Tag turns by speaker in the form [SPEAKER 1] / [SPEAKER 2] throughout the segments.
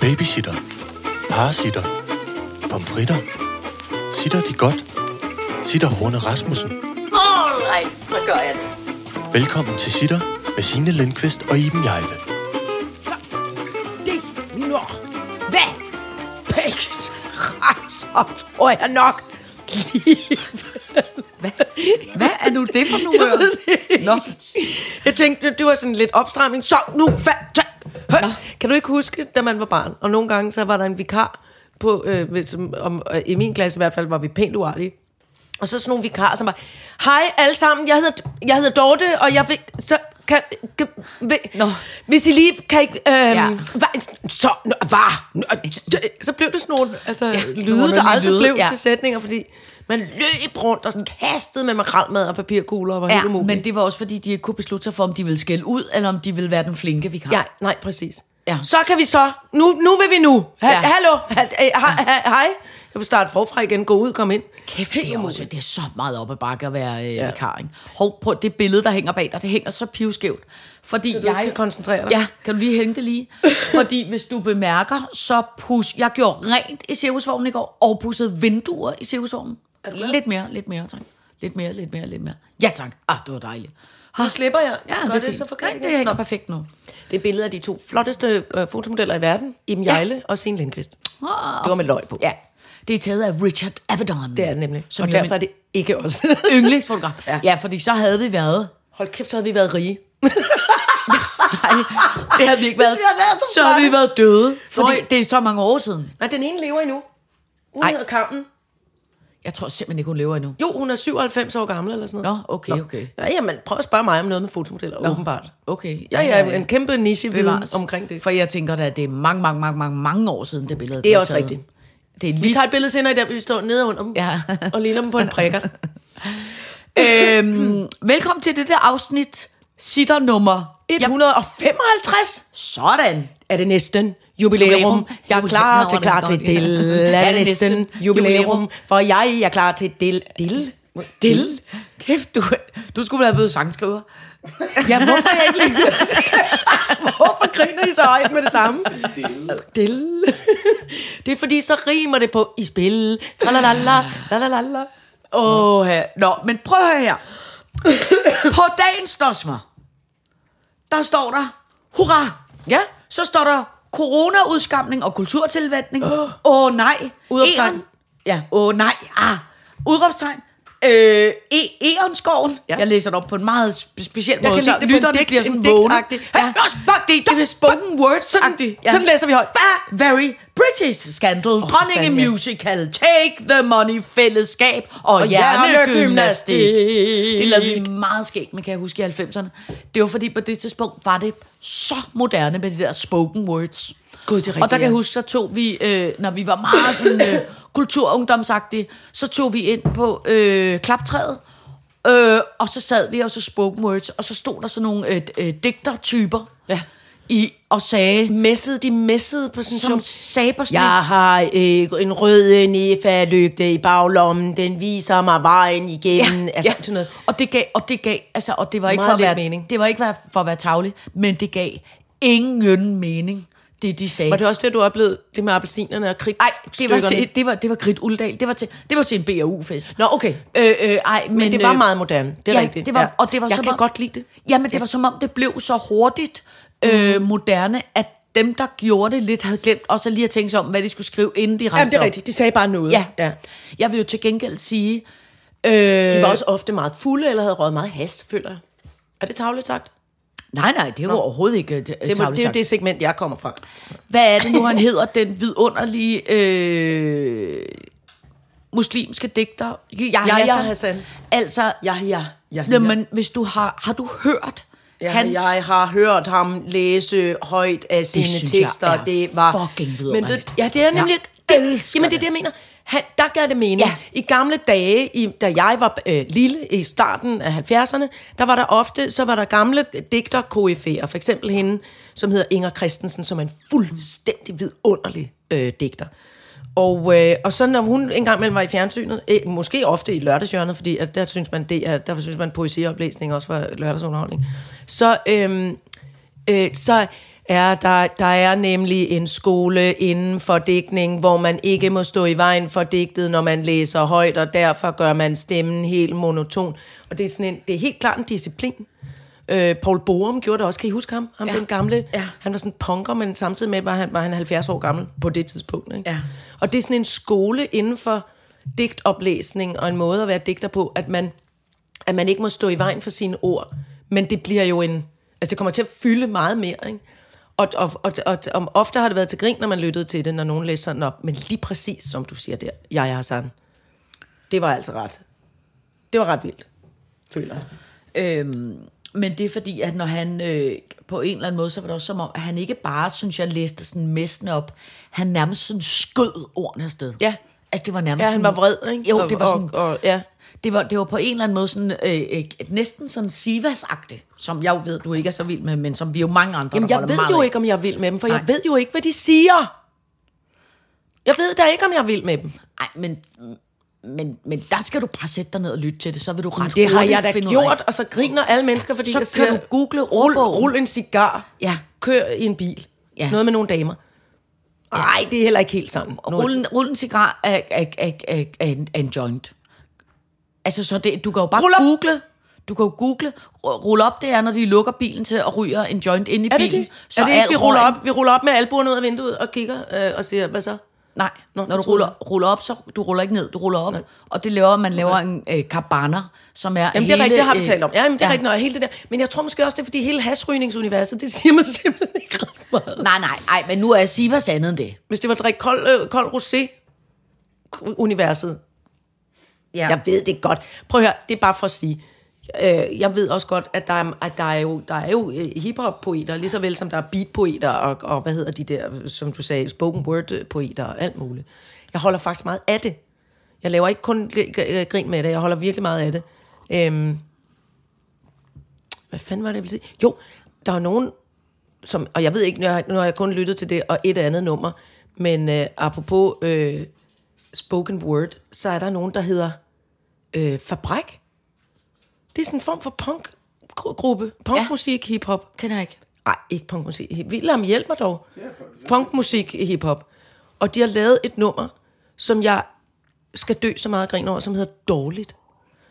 [SPEAKER 1] Babysitter. Parasitter. Pomfritter. Sitter de godt? Sitter Horne Rasmussen.
[SPEAKER 2] Alright, så gør jeg det.
[SPEAKER 1] Velkommen til Sitter med Signe Lindqvist og Iben Jejle.
[SPEAKER 3] det når. Hvad? Pæst. Så tror jeg nok.
[SPEAKER 4] Hvad er nu det for nogle ører? Nå,
[SPEAKER 3] Jeg tænkte, det var sådan lidt opstramning. Så nu fa- ta- Hø! Kan du ikke huske, da man var barn, og nogle gange så var der en vikar på, øh, ved- som, om, øh, i min klasse i hvert fald, var vi pænt uartige. Og så sådan nogle vikarer, som var, hej alle sammen, jeg hedder, jeg hedder Dorte, og jeg vil, så, kan, kan, vil,
[SPEAKER 4] Nå.
[SPEAKER 3] hvis I lige kan ikke, øhm, ja.
[SPEAKER 4] Ja.
[SPEAKER 3] så, nå, var, nå, d- så blev det sådan nogle altså, ja, lyde, der
[SPEAKER 4] underlige
[SPEAKER 3] aldrig
[SPEAKER 4] lyde,
[SPEAKER 3] blev ja.
[SPEAKER 4] ja.
[SPEAKER 3] til sætninger, fordi man løb rundt og kastede med makrelmad og papirkugler og var ja, helt
[SPEAKER 4] ja,
[SPEAKER 3] umulig.
[SPEAKER 4] men det var også fordi, de ikke kunne beslutte sig for, om de ville skælde ud, eller om de ville være den flinke vikar.
[SPEAKER 3] Ja, nej, præcis.
[SPEAKER 4] Ja.
[SPEAKER 3] Så kan vi så, nu, nu vil vi nu. Ha- ja.
[SPEAKER 4] Ja.
[SPEAKER 3] Hallo, ha- eh, ha- ha- hej. Jeg vil starte forfra igen, gå ud, kom ind.
[SPEAKER 4] Kæft, det er, også, det er så meget op ad bakke at være øh, ja. vikar, ikke? Hov, prøv det billede, der hænger bag dig, det hænger så pivskævt. Fordi
[SPEAKER 3] du ikke
[SPEAKER 4] jeg
[SPEAKER 3] kan koncentrere dig?
[SPEAKER 4] Ja, kan du lige hænge det lige? fordi hvis du bemærker, så pus... Jeg gjorde rent i cirkusvognen i går, og pudsede vinduer i cirkusvognen. Lidt mere, lidt mere, tak. Lidt mere, lidt mere, lidt mere. Ja, tak. Ah, det var dejligt. Ha.
[SPEAKER 3] Nu slipper jeg.
[SPEAKER 4] Ja,
[SPEAKER 3] Gør
[SPEAKER 4] det er
[SPEAKER 3] det,
[SPEAKER 4] fint.
[SPEAKER 3] så forkert
[SPEAKER 4] Nej,
[SPEAKER 3] igen.
[SPEAKER 4] det hænger
[SPEAKER 3] Nå.
[SPEAKER 4] perfekt nu.
[SPEAKER 3] Det er billeder af de to flotteste øh, fotomodeller i verden, Iben
[SPEAKER 4] Ja.
[SPEAKER 3] Jejle ja. og Signe Lindqvist. Det
[SPEAKER 4] Ah.
[SPEAKER 3] var med løg på.
[SPEAKER 4] Ja. Det er taget af Richard Avedon.
[SPEAKER 3] Det er det nemlig.
[SPEAKER 4] Som
[SPEAKER 3] og
[SPEAKER 4] jo er
[SPEAKER 3] derfor er
[SPEAKER 4] min
[SPEAKER 3] det ikke os.
[SPEAKER 4] yndlingsfotograf.
[SPEAKER 3] Ja.
[SPEAKER 4] Ja. ja, fordi så havde vi været
[SPEAKER 3] Hold kæft, så havde vi været rige.
[SPEAKER 4] Nej, det havde vi ikke været.
[SPEAKER 3] Hvis vi havde været så
[SPEAKER 4] så havde vi
[SPEAKER 3] flotte.
[SPEAKER 4] været døde. Fordi
[SPEAKER 3] Fordi-
[SPEAKER 4] det er så mange år siden.
[SPEAKER 3] Nej, den ene lever endnu. Hun
[SPEAKER 4] Ej.
[SPEAKER 3] hedder Carmen.
[SPEAKER 4] Jeg tror simpelthen ikke, hun lever endnu.
[SPEAKER 3] Jo, hun er 97 år gammel eller sådan noget.
[SPEAKER 4] Nå, okay, okay.
[SPEAKER 3] Ja, jamen, prøv at spørge mig om noget med fotomodeller, Nå. åbenbart.
[SPEAKER 4] Okay.
[SPEAKER 3] Ja, ja, en kæmpe niche viden
[SPEAKER 4] Bevares.
[SPEAKER 3] omkring det.
[SPEAKER 4] For jeg tænker da, at det er mange, mange, mange, mange, mange år siden, det billede
[SPEAKER 3] Det er
[SPEAKER 4] blev
[SPEAKER 3] også
[SPEAKER 4] taget.
[SPEAKER 3] rigtigt.
[SPEAKER 4] Det er lige...
[SPEAKER 3] Vi tager et billede senere i dag, hvor vi står nede under dem,
[SPEAKER 4] Ja.
[SPEAKER 3] og ligner dem på en prikker.
[SPEAKER 4] øhm, velkommen til det der afsnit, sitter nummer
[SPEAKER 3] 155
[SPEAKER 4] Sådan.
[SPEAKER 3] er det næsten jubilæum. Jeg er klar til klar til del. Er det næsten jubilæum, for jeg er klar til del. Del?
[SPEAKER 4] Dill. Kæft, du, du skulle være blevet sangskriver.
[SPEAKER 3] Ja, hvorfor er jeg ikke lige- Hvorfor griner I så højt med det samme? Del. Det er fordi, så rimer det på i spil. Tralalala, lalalala.
[SPEAKER 4] Åh, ja. Nå, men prøv at høre her. På dagens dosmer, der står der, hurra!
[SPEAKER 3] Ja.
[SPEAKER 4] Så står der, corona-udskamning og kulturtilvætning. Åh oh. oh, nej.
[SPEAKER 3] Udråbstegn.
[SPEAKER 4] Egern- Ja, åh oh, nej. Ah. Udropstegn. Øh, e Erenskoven.
[SPEAKER 3] Ja.
[SPEAKER 4] Ja. Jeg læser det op på en meget spe- speciel
[SPEAKER 3] Jeg
[SPEAKER 4] måde,
[SPEAKER 3] kan
[SPEAKER 4] så
[SPEAKER 3] lide det på en
[SPEAKER 4] lytterne
[SPEAKER 3] digt-
[SPEAKER 4] bliver sådan
[SPEAKER 3] en
[SPEAKER 4] vågne.
[SPEAKER 3] digtagtig.
[SPEAKER 4] Ja.
[SPEAKER 3] Hey, nå, fuck det,
[SPEAKER 4] det er spoken words-agtigt.
[SPEAKER 3] Sådan- sådan læser vi højt.
[SPEAKER 4] Ah, very British scandal. Oh, Dronninge
[SPEAKER 3] fanden, ja.
[SPEAKER 4] musical. Take the money fællesskab. Og, og hjernegymnastik. Det lavede vi meget skægt, men kan jeg huske i 90'erne. Det var fordi, på det tidspunkt var det så moderne med de der spoken words.
[SPEAKER 3] Gud, det er rigtigt,
[SPEAKER 4] og der kan jeg
[SPEAKER 3] ja.
[SPEAKER 4] huske, så tog vi, øh, når vi var meget sådan, øh, kulturungdomsagtige, så tog vi ind på øh, klaptræet, øh, og så sad vi og så spoken words, og så stod der sådan nogle øh, øh, digtertyper
[SPEAKER 3] Ja.
[SPEAKER 4] i, og sagde,
[SPEAKER 3] Messede, de messede på sådan
[SPEAKER 4] som
[SPEAKER 3] som
[SPEAKER 4] sagde på sådan
[SPEAKER 3] Jeg har øh, en rød nefa-lygte i baglommen, den viser mig vejen igennem.
[SPEAKER 4] Ja,
[SPEAKER 3] altså,
[SPEAKER 4] ja.
[SPEAKER 3] Sådan noget.
[SPEAKER 4] Og det gav, og det gav, altså, og det var ikke
[SPEAKER 3] Meget
[SPEAKER 4] for at
[SPEAKER 3] lidt
[SPEAKER 4] være,
[SPEAKER 3] mening.
[SPEAKER 4] mening. det var ikke være- for at være tavlig, men det gav ingen mening, det de sagde.
[SPEAKER 3] Var det også det, du oplevede, det med appelsinerne og krig?
[SPEAKER 4] Ej, det var, til, det var, det var Grit Uldal, det var til, det var til en BAU-fest.
[SPEAKER 3] Nå, okay.
[SPEAKER 4] Øh, øh, ej, men,
[SPEAKER 3] Men det var
[SPEAKER 4] øh,
[SPEAKER 3] meget moderne, det er
[SPEAKER 4] ja,
[SPEAKER 3] rigtigt.
[SPEAKER 4] Det var,
[SPEAKER 3] Ja.
[SPEAKER 4] og det var
[SPEAKER 3] Jeg
[SPEAKER 4] som
[SPEAKER 3] kan
[SPEAKER 4] om,
[SPEAKER 3] godt lide det.
[SPEAKER 4] Ja, men det var som om, det blev så hurtigt
[SPEAKER 3] Mm.
[SPEAKER 4] øh, moderne, at dem, der gjorde det lidt, havde glemt også lige at tænke sig om, hvad de skulle skrive, inden de rejste
[SPEAKER 3] Jamen, det er
[SPEAKER 4] op.
[SPEAKER 3] rigtigt. De sagde bare noget.
[SPEAKER 4] Ja.
[SPEAKER 3] ja.
[SPEAKER 4] ja. Jeg vil jo til gengæld sige... Øh,
[SPEAKER 3] De var også ofte meget fulde, eller havde røget meget has, føler jeg. Er det tavligt sagt?
[SPEAKER 4] nej, nej, det var overhovedet ikke øh,
[SPEAKER 3] Det, må,
[SPEAKER 4] tarveligt
[SPEAKER 3] det er jo
[SPEAKER 4] sagt.
[SPEAKER 3] det segment, jeg kommer fra.
[SPEAKER 4] Hvad er det nu, han hedder? Den vidunderlige øh, muslimske digter. Yahya
[SPEAKER 3] Yahya Hassan.
[SPEAKER 4] Altså,
[SPEAKER 3] Ja, ja, ja.
[SPEAKER 4] ja. men hvis du har, har du hørt
[SPEAKER 3] Ja,
[SPEAKER 4] hans...
[SPEAKER 3] jeg har hørt ham læse højt af sine
[SPEAKER 4] synes jeg
[SPEAKER 3] tekster.
[SPEAKER 4] er
[SPEAKER 3] det var
[SPEAKER 4] fucking
[SPEAKER 3] men det,
[SPEAKER 4] vidunderligt.
[SPEAKER 3] Ja, det er nemlig...
[SPEAKER 4] Jeg
[SPEAKER 3] det,
[SPEAKER 4] elsker
[SPEAKER 3] jamen, det er
[SPEAKER 4] det.
[SPEAKER 3] det, jeg mener. Han, der gør det mening. Ja.
[SPEAKER 4] Ja.
[SPEAKER 3] I gamle dage, i, da jeg var øh, lille i starten af 70'erne, der var der ofte, så var der gamle digter koryfæer For eksempel hende, som hedder Inger Christensen, som er en fuldstændig vidunderlig øh, digter. Og, øh, og så når hun engang imellem var i fjernsynet, øh, måske ofte i lørdagshjørnet, fordi at der synes man, det er, der øhm, synes man poesioplæsning også var lørdagsunderholdning, så, øh, øh, så er, der, der er nemlig en skole inden for digtning, hvor man ikke må stå i vejen for digtet, når man læser højt, og derfor gør man stemmen helt monoton. Og det er, sådan en, det er helt klart en disciplin. Øh, Paul Borum gjorde det også. Kan I huske ham? Ham ja. den gamle.
[SPEAKER 4] Ja.
[SPEAKER 3] Han var sådan punker, men samtidig med var han, var han 70 år gammel på det tidspunkt. Ikke?
[SPEAKER 4] Ja.
[SPEAKER 3] Og det er sådan en skole inden for digtoplæsning og en måde at være digter på, at man, at man ikke må stå i vejen for sine ord. Men det bliver jo en... Altså, det kommer til at fylde meget mere, ikke? Og, og, og, og, og ofte har det været til grin, når man lyttede til det, når nogen læste sådan op. Men lige præcis, som du siger der, jeg har sådan. Det var altså ret. Det var ret vildt, føler jeg.
[SPEAKER 4] Øhm, men det er fordi, at når han øh, på en eller anden måde, så var det også som om, at han ikke bare, synes jeg, læste sådan mestene op. Han nærmest sådan skød ordene afsted.
[SPEAKER 3] Ja.
[SPEAKER 4] Altså det var nærmest
[SPEAKER 3] Ja, han
[SPEAKER 4] sådan,
[SPEAKER 3] var vred, ikke?
[SPEAKER 4] Jo,
[SPEAKER 3] Og-
[SPEAKER 4] det var sådan...
[SPEAKER 3] og- og- ja.
[SPEAKER 4] Det var, det var på en eller anden måde sådan, øh, øh, næsten sådan sivas som jeg jo ved, du ikke er så vild med, men som vi jo mange andre,
[SPEAKER 3] Jamen,
[SPEAKER 4] der
[SPEAKER 3] jeg
[SPEAKER 4] holder
[SPEAKER 3] ved
[SPEAKER 4] meget
[SPEAKER 3] jo
[SPEAKER 4] af.
[SPEAKER 3] ikke, om jeg er vild med dem, for Nej.
[SPEAKER 4] Nej.
[SPEAKER 3] jeg ved jo ikke, hvad de siger. Jeg ved da ikke, om jeg er vild med dem.
[SPEAKER 4] Ej, men, men, men der skal du bare sætte dig ned og lytte til det, så vil du ret
[SPEAKER 3] Det har
[SPEAKER 4] hurtigt
[SPEAKER 3] jeg da
[SPEAKER 4] finde ud af-
[SPEAKER 3] gjort, og så griner alle mennesker, fordi
[SPEAKER 4] Så
[SPEAKER 3] jeg
[SPEAKER 4] kan
[SPEAKER 3] siger,
[SPEAKER 4] du google
[SPEAKER 3] rul,
[SPEAKER 4] ordbogen."
[SPEAKER 3] rul en cigar,
[SPEAKER 4] Ja.
[SPEAKER 3] kør i en bil.
[SPEAKER 4] Ja.
[SPEAKER 3] Noget med nogle damer. Nej, det er heller ikke helt sådan.
[SPEAKER 4] Og Rullen, rullen cigar er, er, er, er, er, en, er en joint. Altså, så det, du kan jo bare
[SPEAKER 3] Rul op.
[SPEAKER 4] google. Du kan jo google. Ru- Rul op, det er, når de lukker bilen til og ryger en joint ind i
[SPEAKER 3] Er det
[SPEAKER 4] bilen.
[SPEAKER 3] det? Så er det
[SPEAKER 4] al
[SPEAKER 3] ikke, vi ruller
[SPEAKER 4] røgen-
[SPEAKER 3] op, vi ruller op med albuerne ud af vinduet og kigger øh, og siger, hvad så?
[SPEAKER 4] Nej,
[SPEAKER 3] Nå,
[SPEAKER 4] Nå,
[SPEAKER 3] det
[SPEAKER 4] når du
[SPEAKER 3] troede
[SPEAKER 4] ruller, ruller op, så du ruller ikke ned, du ruller op. Nej. Og det laver, man laver en øh, cabana, som er
[SPEAKER 3] Jamen,
[SPEAKER 4] hele,
[SPEAKER 3] det er rigtigt, det har vi
[SPEAKER 4] øh,
[SPEAKER 3] talt om. Ja, jamen, det er ja.
[SPEAKER 4] ja.
[SPEAKER 3] rigtigt, når hele det der. Men jeg tror måske også, det er, fordi hele hasrygningsuniverset, det siger man simpelthen ikke ret meget.
[SPEAKER 4] Nej, nej, nej, men nu er Sivas andet end det.
[SPEAKER 3] Hvis det var at drikke kold, øh, kold rosé-universet. Ja. Jeg ved det godt. Prøv at høre, det er bare for at sige. Øh, jeg ved også godt, at der er, at der er jo, der er jo øh, hiphop-poeter, lige så vel som der er beat-poeter, og, og hvad hedder de der, som du sagde, spoken word-poeter og alt muligt. Jeg holder faktisk meget af det. Jeg laver ikke kun gr- gr- grin med det, jeg holder virkelig meget af det. Øhm, hvad fanden var det, jeg ville sige? Jo, der er nogen, som, og jeg ved ikke, nu har, nu har jeg kun lyttet til det, og et andet nummer, men øh, apropos øh, spoken word, så er der nogen, der hedder øh, Fabrik. Det er sådan en form for punkgruppe. Punkmusik, ja. hiphop.
[SPEAKER 4] Kender jeg ikke.
[SPEAKER 3] Nej, ikke punkmusik. hip- William, hjælp mig dog. Punkmusik, hiphop. Og de har lavet et nummer, som jeg skal dø så meget af grin over, som hedder Dårligt.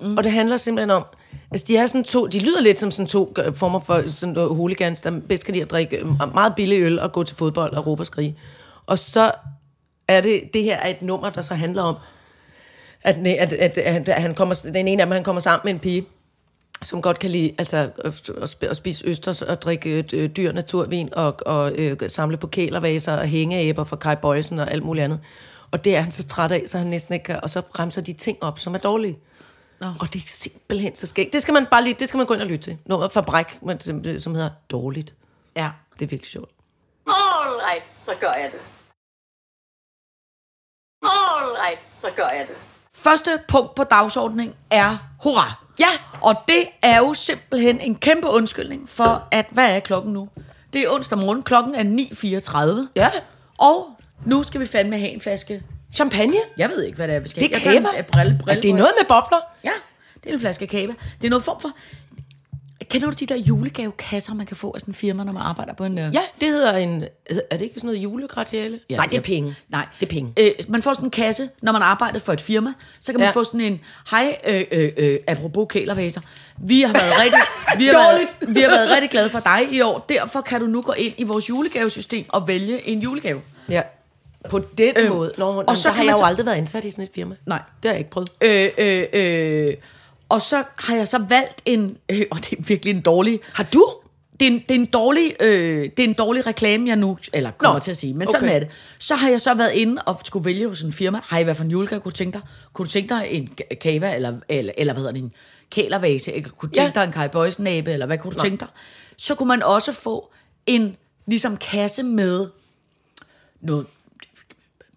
[SPEAKER 3] Mm. Og det handler simpelthen om, altså de er sådan to, de lyder lidt som sådan to øh, former for sådan noget hooligans, der bedst kan lide at drikke øh, meget billig øl og gå til fodbold og råbe og skrige. Og så er det, det her er et nummer, der så handler om, at, ne- at, at, at, at han kommer, den ene af dem, han kommer sammen med en pige, som godt kan lide altså, at- at sp- at spise østers og drikke øh, øh, dyr naturvin og, og øh, samle på kælervaser og hængeæber fra Kai Bøjsen og alt muligt andet. Og det er han så træt af, så han næsten ikke kan, og så bremser de ting op, som er dårlige. Nå. Og det er simpelthen så skægt. Det skal man bare lige, det skal man gå ind og lytte til. Noget fra Bræk, men som- som hedder Dårligt.
[SPEAKER 4] Ja.
[SPEAKER 3] Det er virkelig sjovt.
[SPEAKER 2] Alright, så gør jeg det. Alright, så gør jeg det.
[SPEAKER 4] Første punkt på dagsordningen er hurra.
[SPEAKER 3] Ja.
[SPEAKER 4] Og det er jo simpelthen en kæmpe undskyldning for, at hvad er klokken nu? Det er onsdag morgen, klokken er 9.34.
[SPEAKER 3] Ja.
[SPEAKER 4] Og nu skal vi fandme have en flaske.
[SPEAKER 3] Champagne?
[SPEAKER 4] Jeg ved ikke, hvad det er, vi skal
[SPEAKER 3] Det
[SPEAKER 4] have.
[SPEAKER 3] er
[SPEAKER 4] Jeg tager en,
[SPEAKER 3] kæber.
[SPEAKER 4] øh, brille, brille,
[SPEAKER 3] Er det noget med bobler?
[SPEAKER 4] Ja, det er en flaske kava. Det er noget form for... Kender du de der julegavekasser, man kan få af sådan firma, når man arbejder på en... øh,
[SPEAKER 3] Ja, det hedder en... Er det ikke sådan noget julegratiale? Ja, Nej, det er
[SPEAKER 4] jeg-
[SPEAKER 3] penge.
[SPEAKER 4] Nej,
[SPEAKER 3] det er penge.
[SPEAKER 4] Øh, man får sådan en kasse, når man arbejder for et firma, så kan
[SPEAKER 3] Ja.
[SPEAKER 4] man ja. få sådan en, hej, øh, øh, øh, apropos kælervaser, vi har været rigtig, vi har været,
[SPEAKER 3] Dårligt.
[SPEAKER 4] vi har været rigtig glade for dig i år, derfor kan du nu gå ind i vores julegavesystem og vælge en julegave.
[SPEAKER 3] Ja. På den øhm, måde. Nå, og
[SPEAKER 4] og så
[SPEAKER 3] så der
[SPEAKER 4] kan
[SPEAKER 3] har
[SPEAKER 4] man
[SPEAKER 3] jeg jo
[SPEAKER 4] så-
[SPEAKER 3] aldrig været ansat i sådan et firma.
[SPEAKER 4] Nej.
[SPEAKER 3] Det har jeg ikke prøvet.
[SPEAKER 4] Øh, øh, øh, og så har jeg så valgt en, øh, og det er virkelig en dårlig,
[SPEAKER 3] Har du?
[SPEAKER 4] det er, en, det, er en dårlig, øh, det er en dårlig reklame, jeg nu eller kommer
[SPEAKER 3] Nå,
[SPEAKER 4] Nå, til at sige, men sådan
[SPEAKER 3] okay.
[SPEAKER 4] okay. er det. Så har jeg så været inde og skulle vælge hos en firma, har I hvad for en julegave kunne du tænke dig? Kunne du tænke dig en k- kava, eller, eller, eller hvad hedder det, en kælervase, eller kunne du
[SPEAKER 3] Ja.
[SPEAKER 4] tænke dig en Kai Boysen abe, eller hvad kunne du Nå. tænke dig? Så kunne man også få en ligesom kasse med noget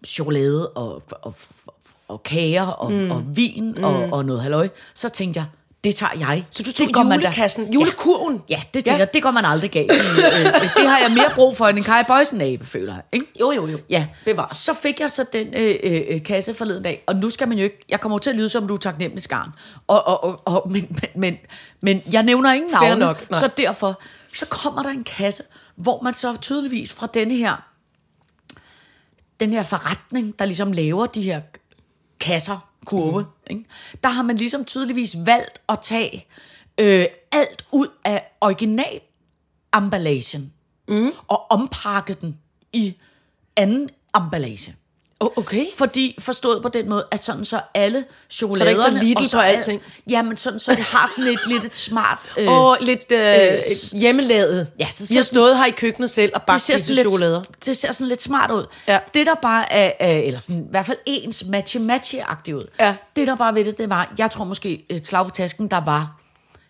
[SPEAKER 4] chokolade og, og, og, og kager og, mm. og vin mm. og, og noget halløj. Så tænkte jeg, det tager jeg.
[SPEAKER 3] Så du
[SPEAKER 4] Det
[SPEAKER 3] tog
[SPEAKER 4] går man da-
[SPEAKER 3] julekassen, julekurven?
[SPEAKER 4] Ja, det tænker
[SPEAKER 3] Ja.
[SPEAKER 4] ja. det går man aldrig galt. i. Øh, øh, det har jeg mere brug for end en Kai Bøjsen abe, føler jeg. Ikke?
[SPEAKER 3] Jo, jo, jo.
[SPEAKER 4] Ja,
[SPEAKER 3] Bevar.
[SPEAKER 4] Så fik jeg så den øh, øh, øh, kasse forleden dag, og nu skal man jo ikke... Jeg kommer jo til at lyde som, du er taknemmelig skarn. Og, og, og, og, men, men, men, men jeg nævner ingen
[SPEAKER 3] Fair
[SPEAKER 4] navne,
[SPEAKER 3] nok, nej.
[SPEAKER 4] så derfor... Så kommer der en kasse, hvor man så tydeligvis fra denne her, den her forretning, der ligesom laver de her kasser, kurve,
[SPEAKER 3] Mhm.
[SPEAKER 4] mm. ikke? der har man ligesom tydeligvis valgt at tage øh, alt ud af original emballagen mm.
[SPEAKER 3] Mhm.
[SPEAKER 4] og ompakke den i anden emballage.
[SPEAKER 3] Oh, okay.
[SPEAKER 4] Fordi forstået på den måde, at sådan så alle
[SPEAKER 3] der
[SPEAKER 4] chokoladerne...
[SPEAKER 3] ikke står Lidl
[SPEAKER 4] og så
[SPEAKER 3] på
[SPEAKER 4] al-
[SPEAKER 3] alting?
[SPEAKER 4] Jamen sådan, så det har sådan et lidt et smart... Øh,
[SPEAKER 3] Og lidt øh,
[SPEAKER 4] s-
[SPEAKER 3] hjemmelavet.
[SPEAKER 4] Ja, så
[SPEAKER 3] Vi har
[SPEAKER 4] sådan-
[SPEAKER 3] stået her i køkkenet selv og bagt
[SPEAKER 4] ser
[SPEAKER 3] disse
[SPEAKER 4] sådan lidt-
[SPEAKER 3] chokolader.
[SPEAKER 4] Det ser sådan lidt smart ud.
[SPEAKER 3] Ja.
[SPEAKER 4] Det der bare er, øh, eller sådan, i hvert fald ens matchy matchy agtigt ud.
[SPEAKER 3] Ja.
[SPEAKER 4] Det der bare ved det, det var, jeg tror måske et slag på tasken, der var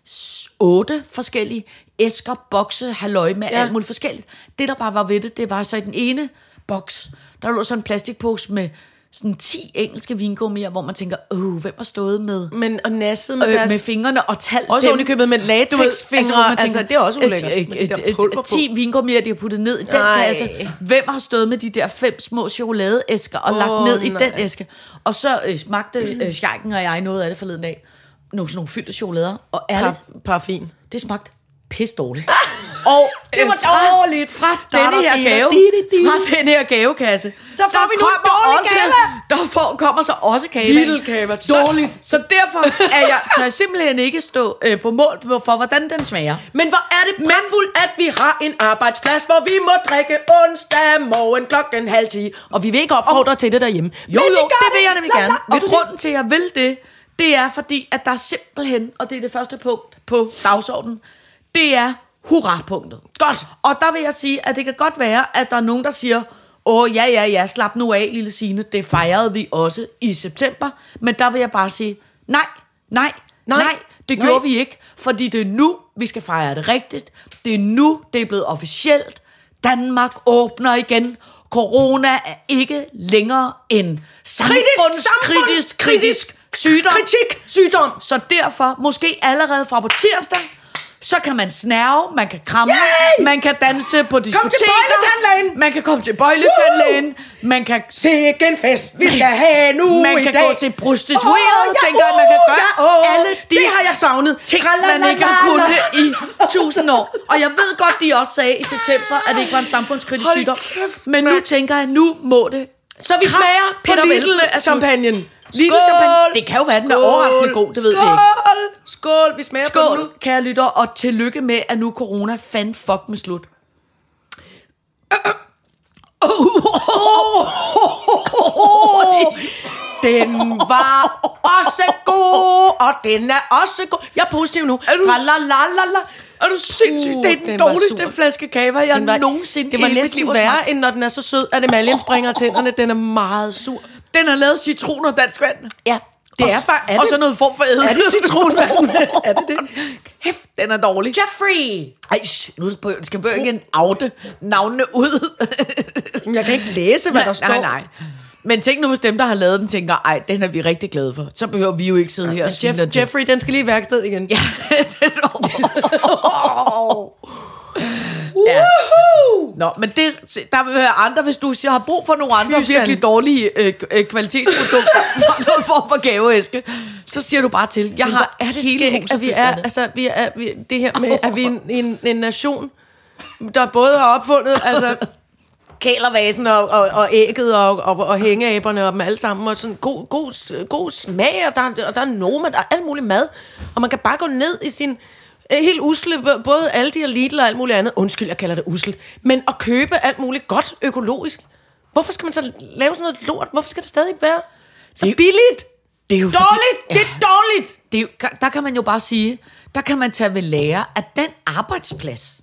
[SPEAKER 4] s- otte forskellige æsker, bokse, halløj med
[SPEAKER 3] Ja.
[SPEAKER 4] ja. alt muligt forskelligt. Det der bare var ved det, det var så i den ene boks, der lå sådan en plastikpose med sådan 10 engelske vingummier, hvor man tænker, åh, hvem har stået med
[SPEAKER 3] Men og nasset med øh,
[SPEAKER 4] øh,
[SPEAKER 3] deres...
[SPEAKER 4] med fingrene og talt
[SPEAKER 3] Også
[SPEAKER 4] dem.
[SPEAKER 3] ovenikøbet med
[SPEAKER 4] Du ved,
[SPEAKER 3] latexfingre,
[SPEAKER 4] hvor man
[SPEAKER 3] altså, det er også
[SPEAKER 4] et-
[SPEAKER 3] ulækkert,
[SPEAKER 4] et-
[SPEAKER 3] med det
[SPEAKER 4] et-
[SPEAKER 3] der pulver
[SPEAKER 4] et- 10 vingummier, de har puttet ned i den
[SPEAKER 3] Nej.
[SPEAKER 4] kasse. Hvem har stået med de der fem små chokoladeæsker og oh, lagt
[SPEAKER 3] Åh,
[SPEAKER 4] ned i
[SPEAKER 3] nej.
[SPEAKER 4] den æske? Og så øh, smagte øh, Sjejken og jeg noget af det forleden dag. Nogle sådan nogle fyldte chokolader. Og ærligt,
[SPEAKER 3] Par- parfum.
[SPEAKER 4] det smagte pis dårligt. og
[SPEAKER 3] Ah, det var
[SPEAKER 4] øh, fra-
[SPEAKER 3] dårligt.
[SPEAKER 4] Fra
[SPEAKER 3] Da, da,
[SPEAKER 4] denne her
[SPEAKER 3] di, da,
[SPEAKER 4] gave,
[SPEAKER 3] di, di, di.
[SPEAKER 4] fra den her gavekasse. Så
[SPEAKER 3] får vi nu en dårlig
[SPEAKER 4] Der får, kommer så også kage.
[SPEAKER 3] Lidl-kage, dårligt.
[SPEAKER 4] Så, så derfor er jeg, tør jeg simpelthen ikke stå øh, på mål for, hvordan den smager.
[SPEAKER 3] Men hvor er det pragtfuldt, at vi har en arbejdsplads, hvor vi må drikke onsdag morgen klokken halv ti. Og vi vil ikke opfordre til det derhjemme.
[SPEAKER 4] Jo, jo, det, det vil jeg nemlig gerne.
[SPEAKER 3] Vil
[SPEAKER 4] Og
[SPEAKER 3] du grund?
[SPEAKER 4] grunden til, at jeg vil det, det er fordi, at der er simpelthen, og det er det første punkt på dagsordenen, det er hurra-punktet.
[SPEAKER 3] Godt.
[SPEAKER 4] Og der vil jeg sige, at det kan godt være, at der er nogen, der siger, åh ja, ja, ja, slap nu af, lille Signe, det fejrede vi også i september. Men der vil jeg bare sige, nej, nej, nej, nej
[SPEAKER 3] nej.
[SPEAKER 4] det nej. gjorde vi ikke. Fordi det er nu, vi skal fejre det rigtigt. Det er nu, det er blevet officielt. Danmark åbner igen. Corona er ikke længere en samfundskritisk, kritisk sygdom.
[SPEAKER 3] Kritik, sygdom.
[SPEAKER 4] Så derfor, måske allerede fra på tirsdag, så kan man snæve, man kan kramme,
[SPEAKER 3] Yay!
[SPEAKER 4] man kan danse på diskoteker.
[SPEAKER 3] bøjletandlægen!
[SPEAKER 4] Man kan komme til bøjletandlægen. Man kan,
[SPEAKER 3] Sikke en fest, vi skal have nu
[SPEAKER 4] man
[SPEAKER 3] i
[SPEAKER 4] kan
[SPEAKER 3] dag.
[SPEAKER 4] gå til prostituerede,
[SPEAKER 3] Åh, ja,
[SPEAKER 4] tænker jeg, man kan
[SPEAKER 3] uh,
[SPEAKER 4] gøre
[SPEAKER 3] ja, åh,
[SPEAKER 4] alle de
[SPEAKER 3] det har jeg savnet.
[SPEAKER 4] ting, man ikke har kunnet i tusind år. Og jeg ved godt, de også sagde i september, at det ikke var en samfundskritisk
[SPEAKER 3] Hold
[SPEAKER 4] sygdom.
[SPEAKER 3] kæft,
[SPEAKER 4] Men nu
[SPEAKER 3] mand.
[SPEAKER 4] tænker jeg, nu må det.
[SPEAKER 3] Så vi smager på
[SPEAKER 4] Peter Velde er slut.
[SPEAKER 3] Lidl-champagnen.
[SPEAKER 4] Lidl-champagne. Det kan jo være, den er overraskende god, det ved vi ikke.
[SPEAKER 3] Skål, skål, vi smager på den nu.
[SPEAKER 4] Skål, kære lytter, og tillykke med, at nu er corona fan fuck med slut.
[SPEAKER 3] Den var også god, og den er også god. Jeg er positiv nu. Er
[SPEAKER 4] du-
[SPEAKER 3] Tralalalala.
[SPEAKER 4] Er du sindssyg?
[SPEAKER 3] Uh,
[SPEAKER 4] det er den,
[SPEAKER 3] den var
[SPEAKER 4] dårligste
[SPEAKER 3] sur.
[SPEAKER 4] flaske kava, jeg
[SPEAKER 3] Den var,
[SPEAKER 4] nogensinde
[SPEAKER 3] det var
[SPEAKER 4] i hele mit liv
[SPEAKER 3] næsten
[SPEAKER 4] har
[SPEAKER 3] værre,
[SPEAKER 4] smagt.
[SPEAKER 3] end når den er så sød, at emaljen springer af tænderne. Den er meget sur.
[SPEAKER 4] Den er lavet af citron og dansk vand.
[SPEAKER 3] Ja, det er
[SPEAKER 4] og,
[SPEAKER 3] faktisk...
[SPEAKER 4] og så noget form for æde.
[SPEAKER 3] Er det citronvand?
[SPEAKER 4] er det det? Hæft, den er dårlig.
[SPEAKER 3] Jeffrey!
[SPEAKER 4] Ej, sh, nu skal jeg- skal jeg ikke oute navnene ud.
[SPEAKER 3] Jamen, Jeg kan ikke læse, hvad der står.
[SPEAKER 4] Nej, nej. Men tænk nu, hvis dem, der har lavet den, tænker, ej, den er vi rigtig glade for. Så behøver vi jo ikke sidde her og svine den
[SPEAKER 3] Jeff,
[SPEAKER 4] til.
[SPEAKER 3] Jeffrey, den skal lige i værksted igen.
[SPEAKER 4] Ja, den
[SPEAKER 3] Uh!
[SPEAKER 4] ja. Nå, men det, der vil være andre, hvis du siger, har brug for nogle andre
[SPEAKER 3] Fysan.
[SPEAKER 4] virkelig dårlige øh, øh, kvalitetsprodukter fra noget form for gaveæske, så siger du bare til. Jeg har
[SPEAKER 3] er det
[SPEAKER 4] hele
[SPEAKER 3] skægt,
[SPEAKER 4] huset
[SPEAKER 3] at vi
[SPEAKER 4] fyldt
[SPEAKER 3] er,
[SPEAKER 4] med det.
[SPEAKER 3] altså, vi er, vi, det her med, at vi er en, en, en nation, der både har opfundet, altså, kælervasen og, og, og ægget og, og, og hængeaberne og dem alle sammen, og sådan god, god, s- god smag, og der, og der er Noma, der er alt muligt mad, og man kan bare gå ned i sin øh, helt usle, b- både Aldi og Lidl og alt muligt andet, undskyld, jeg kalder det usle, men at købe alt muligt godt økologisk, hvorfor skal man så lave sådan noget lort, hvorfor skal det stadig være så billigt?
[SPEAKER 4] Det er jo
[SPEAKER 3] Dårligt! Det er dårligt!
[SPEAKER 4] det er jo, der kan man jo bare sige, der kan man tage ved lære, at den arbejdsplads,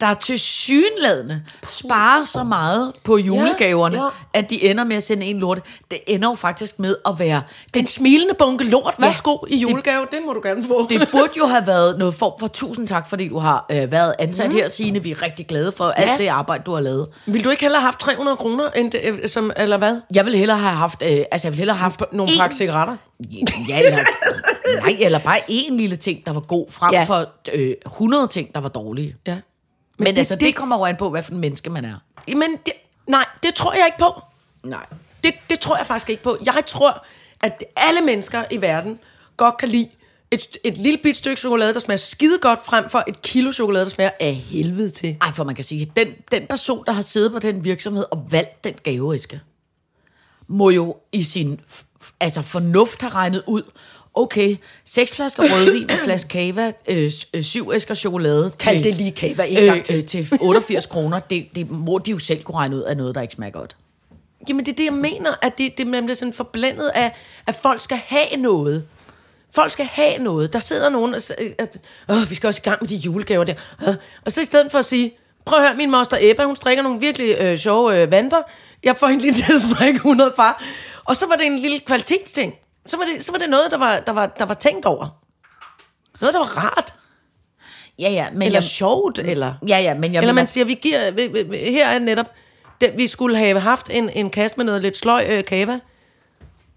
[SPEAKER 4] der til synlædende sparer så meget på julegaverne,
[SPEAKER 3] ja.
[SPEAKER 4] ja, ja. at de ender med at sende en lort. Det ender jo faktisk med at være...
[SPEAKER 3] Den smilende bunke lort,
[SPEAKER 4] Ja.
[SPEAKER 3] værsgo ja, i julegave, det, må du gerne få.
[SPEAKER 4] Det burde jo have været noget form for tusind tak, fordi du har øh, været ansat mm. her, Signe. Vi er rigtig glade for alt
[SPEAKER 3] Mhm. Ja.
[SPEAKER 4] det arbejde, du har lavet.
[SPEAKER 3] Vil du ikke hellere have haft 300 kroner, end det, øh, som, eller hvad?
[SPEAKER 4] Jeg ville hellere have haft... Øh, altså, jeg ville hellere have haft
[SPEAKER 3] Nogle
[SPEAKER 4] én-
[SPEAKER 3] pakke cigaretter?
[SPEAKER 4] Ja, eller, nej, eller bare én lille ting, der var god, frem
[SPEAKER 3] Ja.
[SPEAKER 4] ja. for øh, 100 ting, der var dårlige.
[SPEAKER 3] Ja.
[SPEAKER 4] Men, Men
[SPEAKER 3] det-
[SPEAKER 4] det, altså, det,
[SPEAKER 3] det-
[SPEAKER 4] det kommer jo an på, hvad for en menneske man er.
[SPEAKER 3] Men det, nej, det tror jeg ikke på.
[SPEAKER 4] Nej.
[SPEAKER 3] Det, det tror jeg faktisk ikke på. Jeg tror, at alle mennesker i verden godt kan lide et, st- et lille bit stykke chokolade, der smager skide godt, frem for et kilo chokolade, der smager af helvede til.
[SPEAKER 4] Ej, for man kan sige, den, den person, der har siddet på den virksomhed og valgt den gaveæske, må jo i sin f- f- altså fornuft have regnet ud, okay, seks flasker rødvin, en flaske kava, øh, s- øh, syv æsker chokolade.
[SPEAKER 3] Kald
[SPEAKER 4] til-
[SPEAKER 3] det lige kava en gang til.
[SPEAKER 4] Øh, til 88 kroner, det, det må de jo selv kunne regne ud af noget, der ikke smager godt.
[SPEAKER 3] Jamen, det er det, jeg mener, at det, det man bliver sådan forblændet af, at folk skal have noget. Folk skal have noget. Der sidder nogen og siger, at Åh, vi skal også i gang med de julegaver der. Øh. Og så i stedet for at sige, prøv at høre, min moster Ebba, hun strikker nogle virkelig øh, sjove øh, vanter. Jeg får hende lige til at strikke 100 par. Og så var det en lille kvalitetsting. Så var det, så var det noget, der var, der, var, der var tænkt over. Noget, der var rart,
[SPEAKER 4] Ja, ja, men
[SPEAKER 3] eller
[SPEAKER 4] jeg,
[SPEAKER 3] sjovt, eller...
[SPEAKER 4] ja, ja, men jeg
[SPEAKER 3] Eller
[SPEAKER 4] mener-
[SPEAKER 3] man siger, vi giver, vi- vi- vi- her er netop, det, vi skulle have haft en, en kasse med noget lidt sløj øh, kava,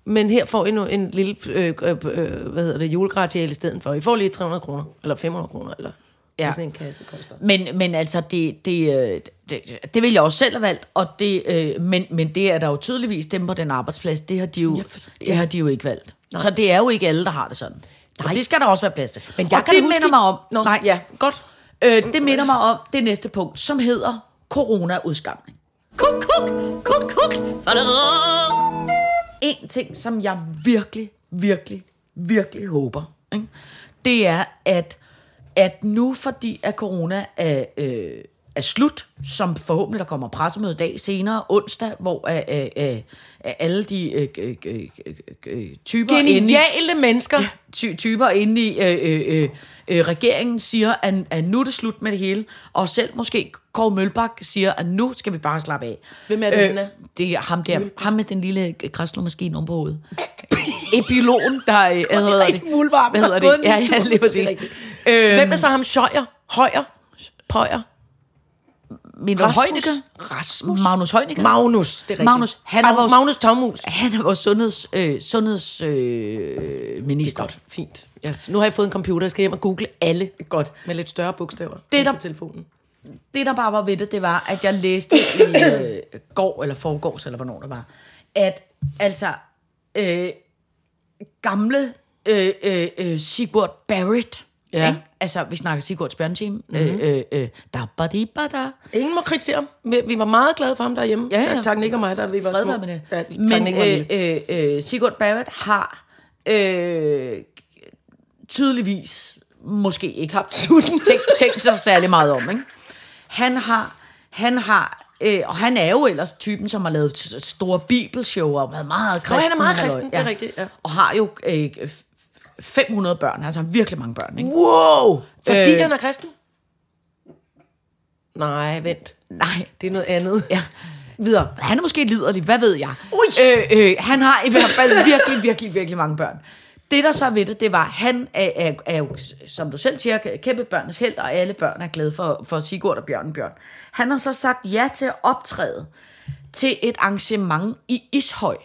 [SPEAKER 3] men her får I nu en lille, øh, øh, øh, hvad hedder det, julegratial i stedet for. I får lige 300 kroner, eller 500 kroner, eller ja.
[SPEAKER 4] Ja.
[SPEAKER 3] hvad sådan en kasse koster.
[SPEAKER 4] Men, men altså, det, det, øh, det, det vil jeg også selv have valgt, og det, øh, men, men det er der jo tydeligvis dem på den arbejdsplads, det har de jo,
[SPEAKER 3] Jeg forstår-
[SPEAKER 4] det har de jo ikke valgt. Nej. Så det er jo ikke alle, der har det sådan. Nej. Og det skal der også være plads til. Men jeg og det minder mig om,
[SPEAKER 3] Nå, nej. ja, godt.
[SPEAKER 4] øh, det minder mig om det næste punkt, som hedder corona-udskamning.
[SPEAKER 2] Kuk, kuk, kuk, kuk. Fadadadam.
[SPEAKER 4] En ting, som jeg virkelig, virkelig, virkelig håber, ikke? det er, at, at nu fordi at corona er, øh, er slut, som forhåbentlig der kommer pressemøde i dag senere, onsdag, hvor øh, øh, øh, alle de øh, øh, øh, øh, øh, typer inde i-
[SPEAKER 3] Geniale mennesker. Ja.
[SPEAKER 4] ty- typer inde i øh, øh, øh, øh, regeringen siger, at, at nu er det slut med det hele. Og selv måske Kåre Mølbak siger, at nu skal vi bare slappe af. Øh,
[SPEAKER 3] Hvem er det, han er?
[SPEAKER 4] Det er ham der. Ham med den lille græslåmaskine oven på hovedet. Epilogen, der... Øh, hvad hedder det?
[SPEAKER 3] rigtig muldvarpen,
[SPEAKER 4] Hvad hedder
[SPEAKER 3] der har
[SPEAKER 4] det?
[SPEAKER 3] gået
[SPEAKER 4] Ja,
[SPEAKER 3] en
[SPEAKER 4] ja,
[SPEAKER 3] tur.
[SPEAKER 4] lige præcis.
[SPEAKER 3] Det
[SPEAKER 4] Øh,
[SPEAKER 3] Hvem er så ham sjøjer, højer, pøjer?
[SPEAKER 4] min
[SPEAKER 3] Rasmus?
[SPEAKER 4] Højnikker?
[SPEAKER 3] Rasmus?
[SPEAKER 4] Magnus Heunicke?
[SPEAKER 3] Magnus, det er rigtigt.
[SPEAKER 4] Magnus, han er
[SPEAKER 3] Tav-
[SPEAKER 4] vores-
[SPEAKER 3] Magnus Tavmus.
[SPEAKER 4] Han er vores sundheds, øh, sundhedsminister. Øh, minister.
[SPEAKER 3] Godt, fint. Yes. Nu har jeg fået en computer, jeg skal hjem og google alle.
[SPEAKER 4] Godt.
[SPEAKER 3] Med lidt større bogstaver.
[SPEAKER 4] Det er der-
[SPEAKER 3] på telefonen.
[SPEAKER 4] det, der bare var ved det, det var, at jeg læste i øh, går, eller forgårs, eller hvornår det var, at altså øh, gamle øh, øh, øh, Sigurd Barrett,
[SPEAKER 3] Ja.
[SPEAKER 4] ikke? altså vi snakker Sigurds bjørnteam, mm-hmm. øh, øh, øh, da ba di ba da
[SPEAKER 3] Ingen må kritisere ham. Vi, vi var meget glade for ham derhjemme.
[SPEAKER 4] Ja, ja.
[SPEAKER 3] Tak ikke og mig, der vi var
[SPEAKER 4] fred
[SPEAKER 3] små.
[SPEAKER 4] være med det.
[SPEAKER 3] Ja, tak
[SPEAKER 4] Men
[SPEAKER 3] Nick og Mille.
[SPEAKER 4] øh, øh, øh, Sigurd Barrett har øh, tydeligvis måske ikke tabt tænkt, tænkt sig særlig meget om. Ikke? Han har, han har øh, og han er jo ellers typen, som har lavet s- store bibelshow og været meget kristen.
[SPEAKER 3] han er meget
[SPEAKER 4] halløj.
[SPEAKER 3] kristen, det er rigtigt, ja.
[SPEAKER 4] Og har jo øh, f- 500 børn, altså han har virkelig mange børn. Ikke?
[SPEAKER 3] Wow! Fordi
[SPEAKER 4] Øh.
[SPEAKER 3] øh. han er kristen? Nej, vent.
[SPEAKER 4] Nej,
[SPEAKER 3] Det er noget andet.
[SPEAKER 4] Ja. Videre. Han er måske liderlig, hvad ved jeg.
[SPEAKER 3] Ui!
[SPEAKER 4] Øh, øh, han har i hvert fald virkelig, virkelig, virkelig mange børn. Det, der så ved det, det var, han er, er, er jo, som du selv siger, kæmpe børnenes held, og alle børn er glade for, for Sigurd og Bjørn Bjørn. Han har så sagt ja til at optræde til et arrangement i Ishøj,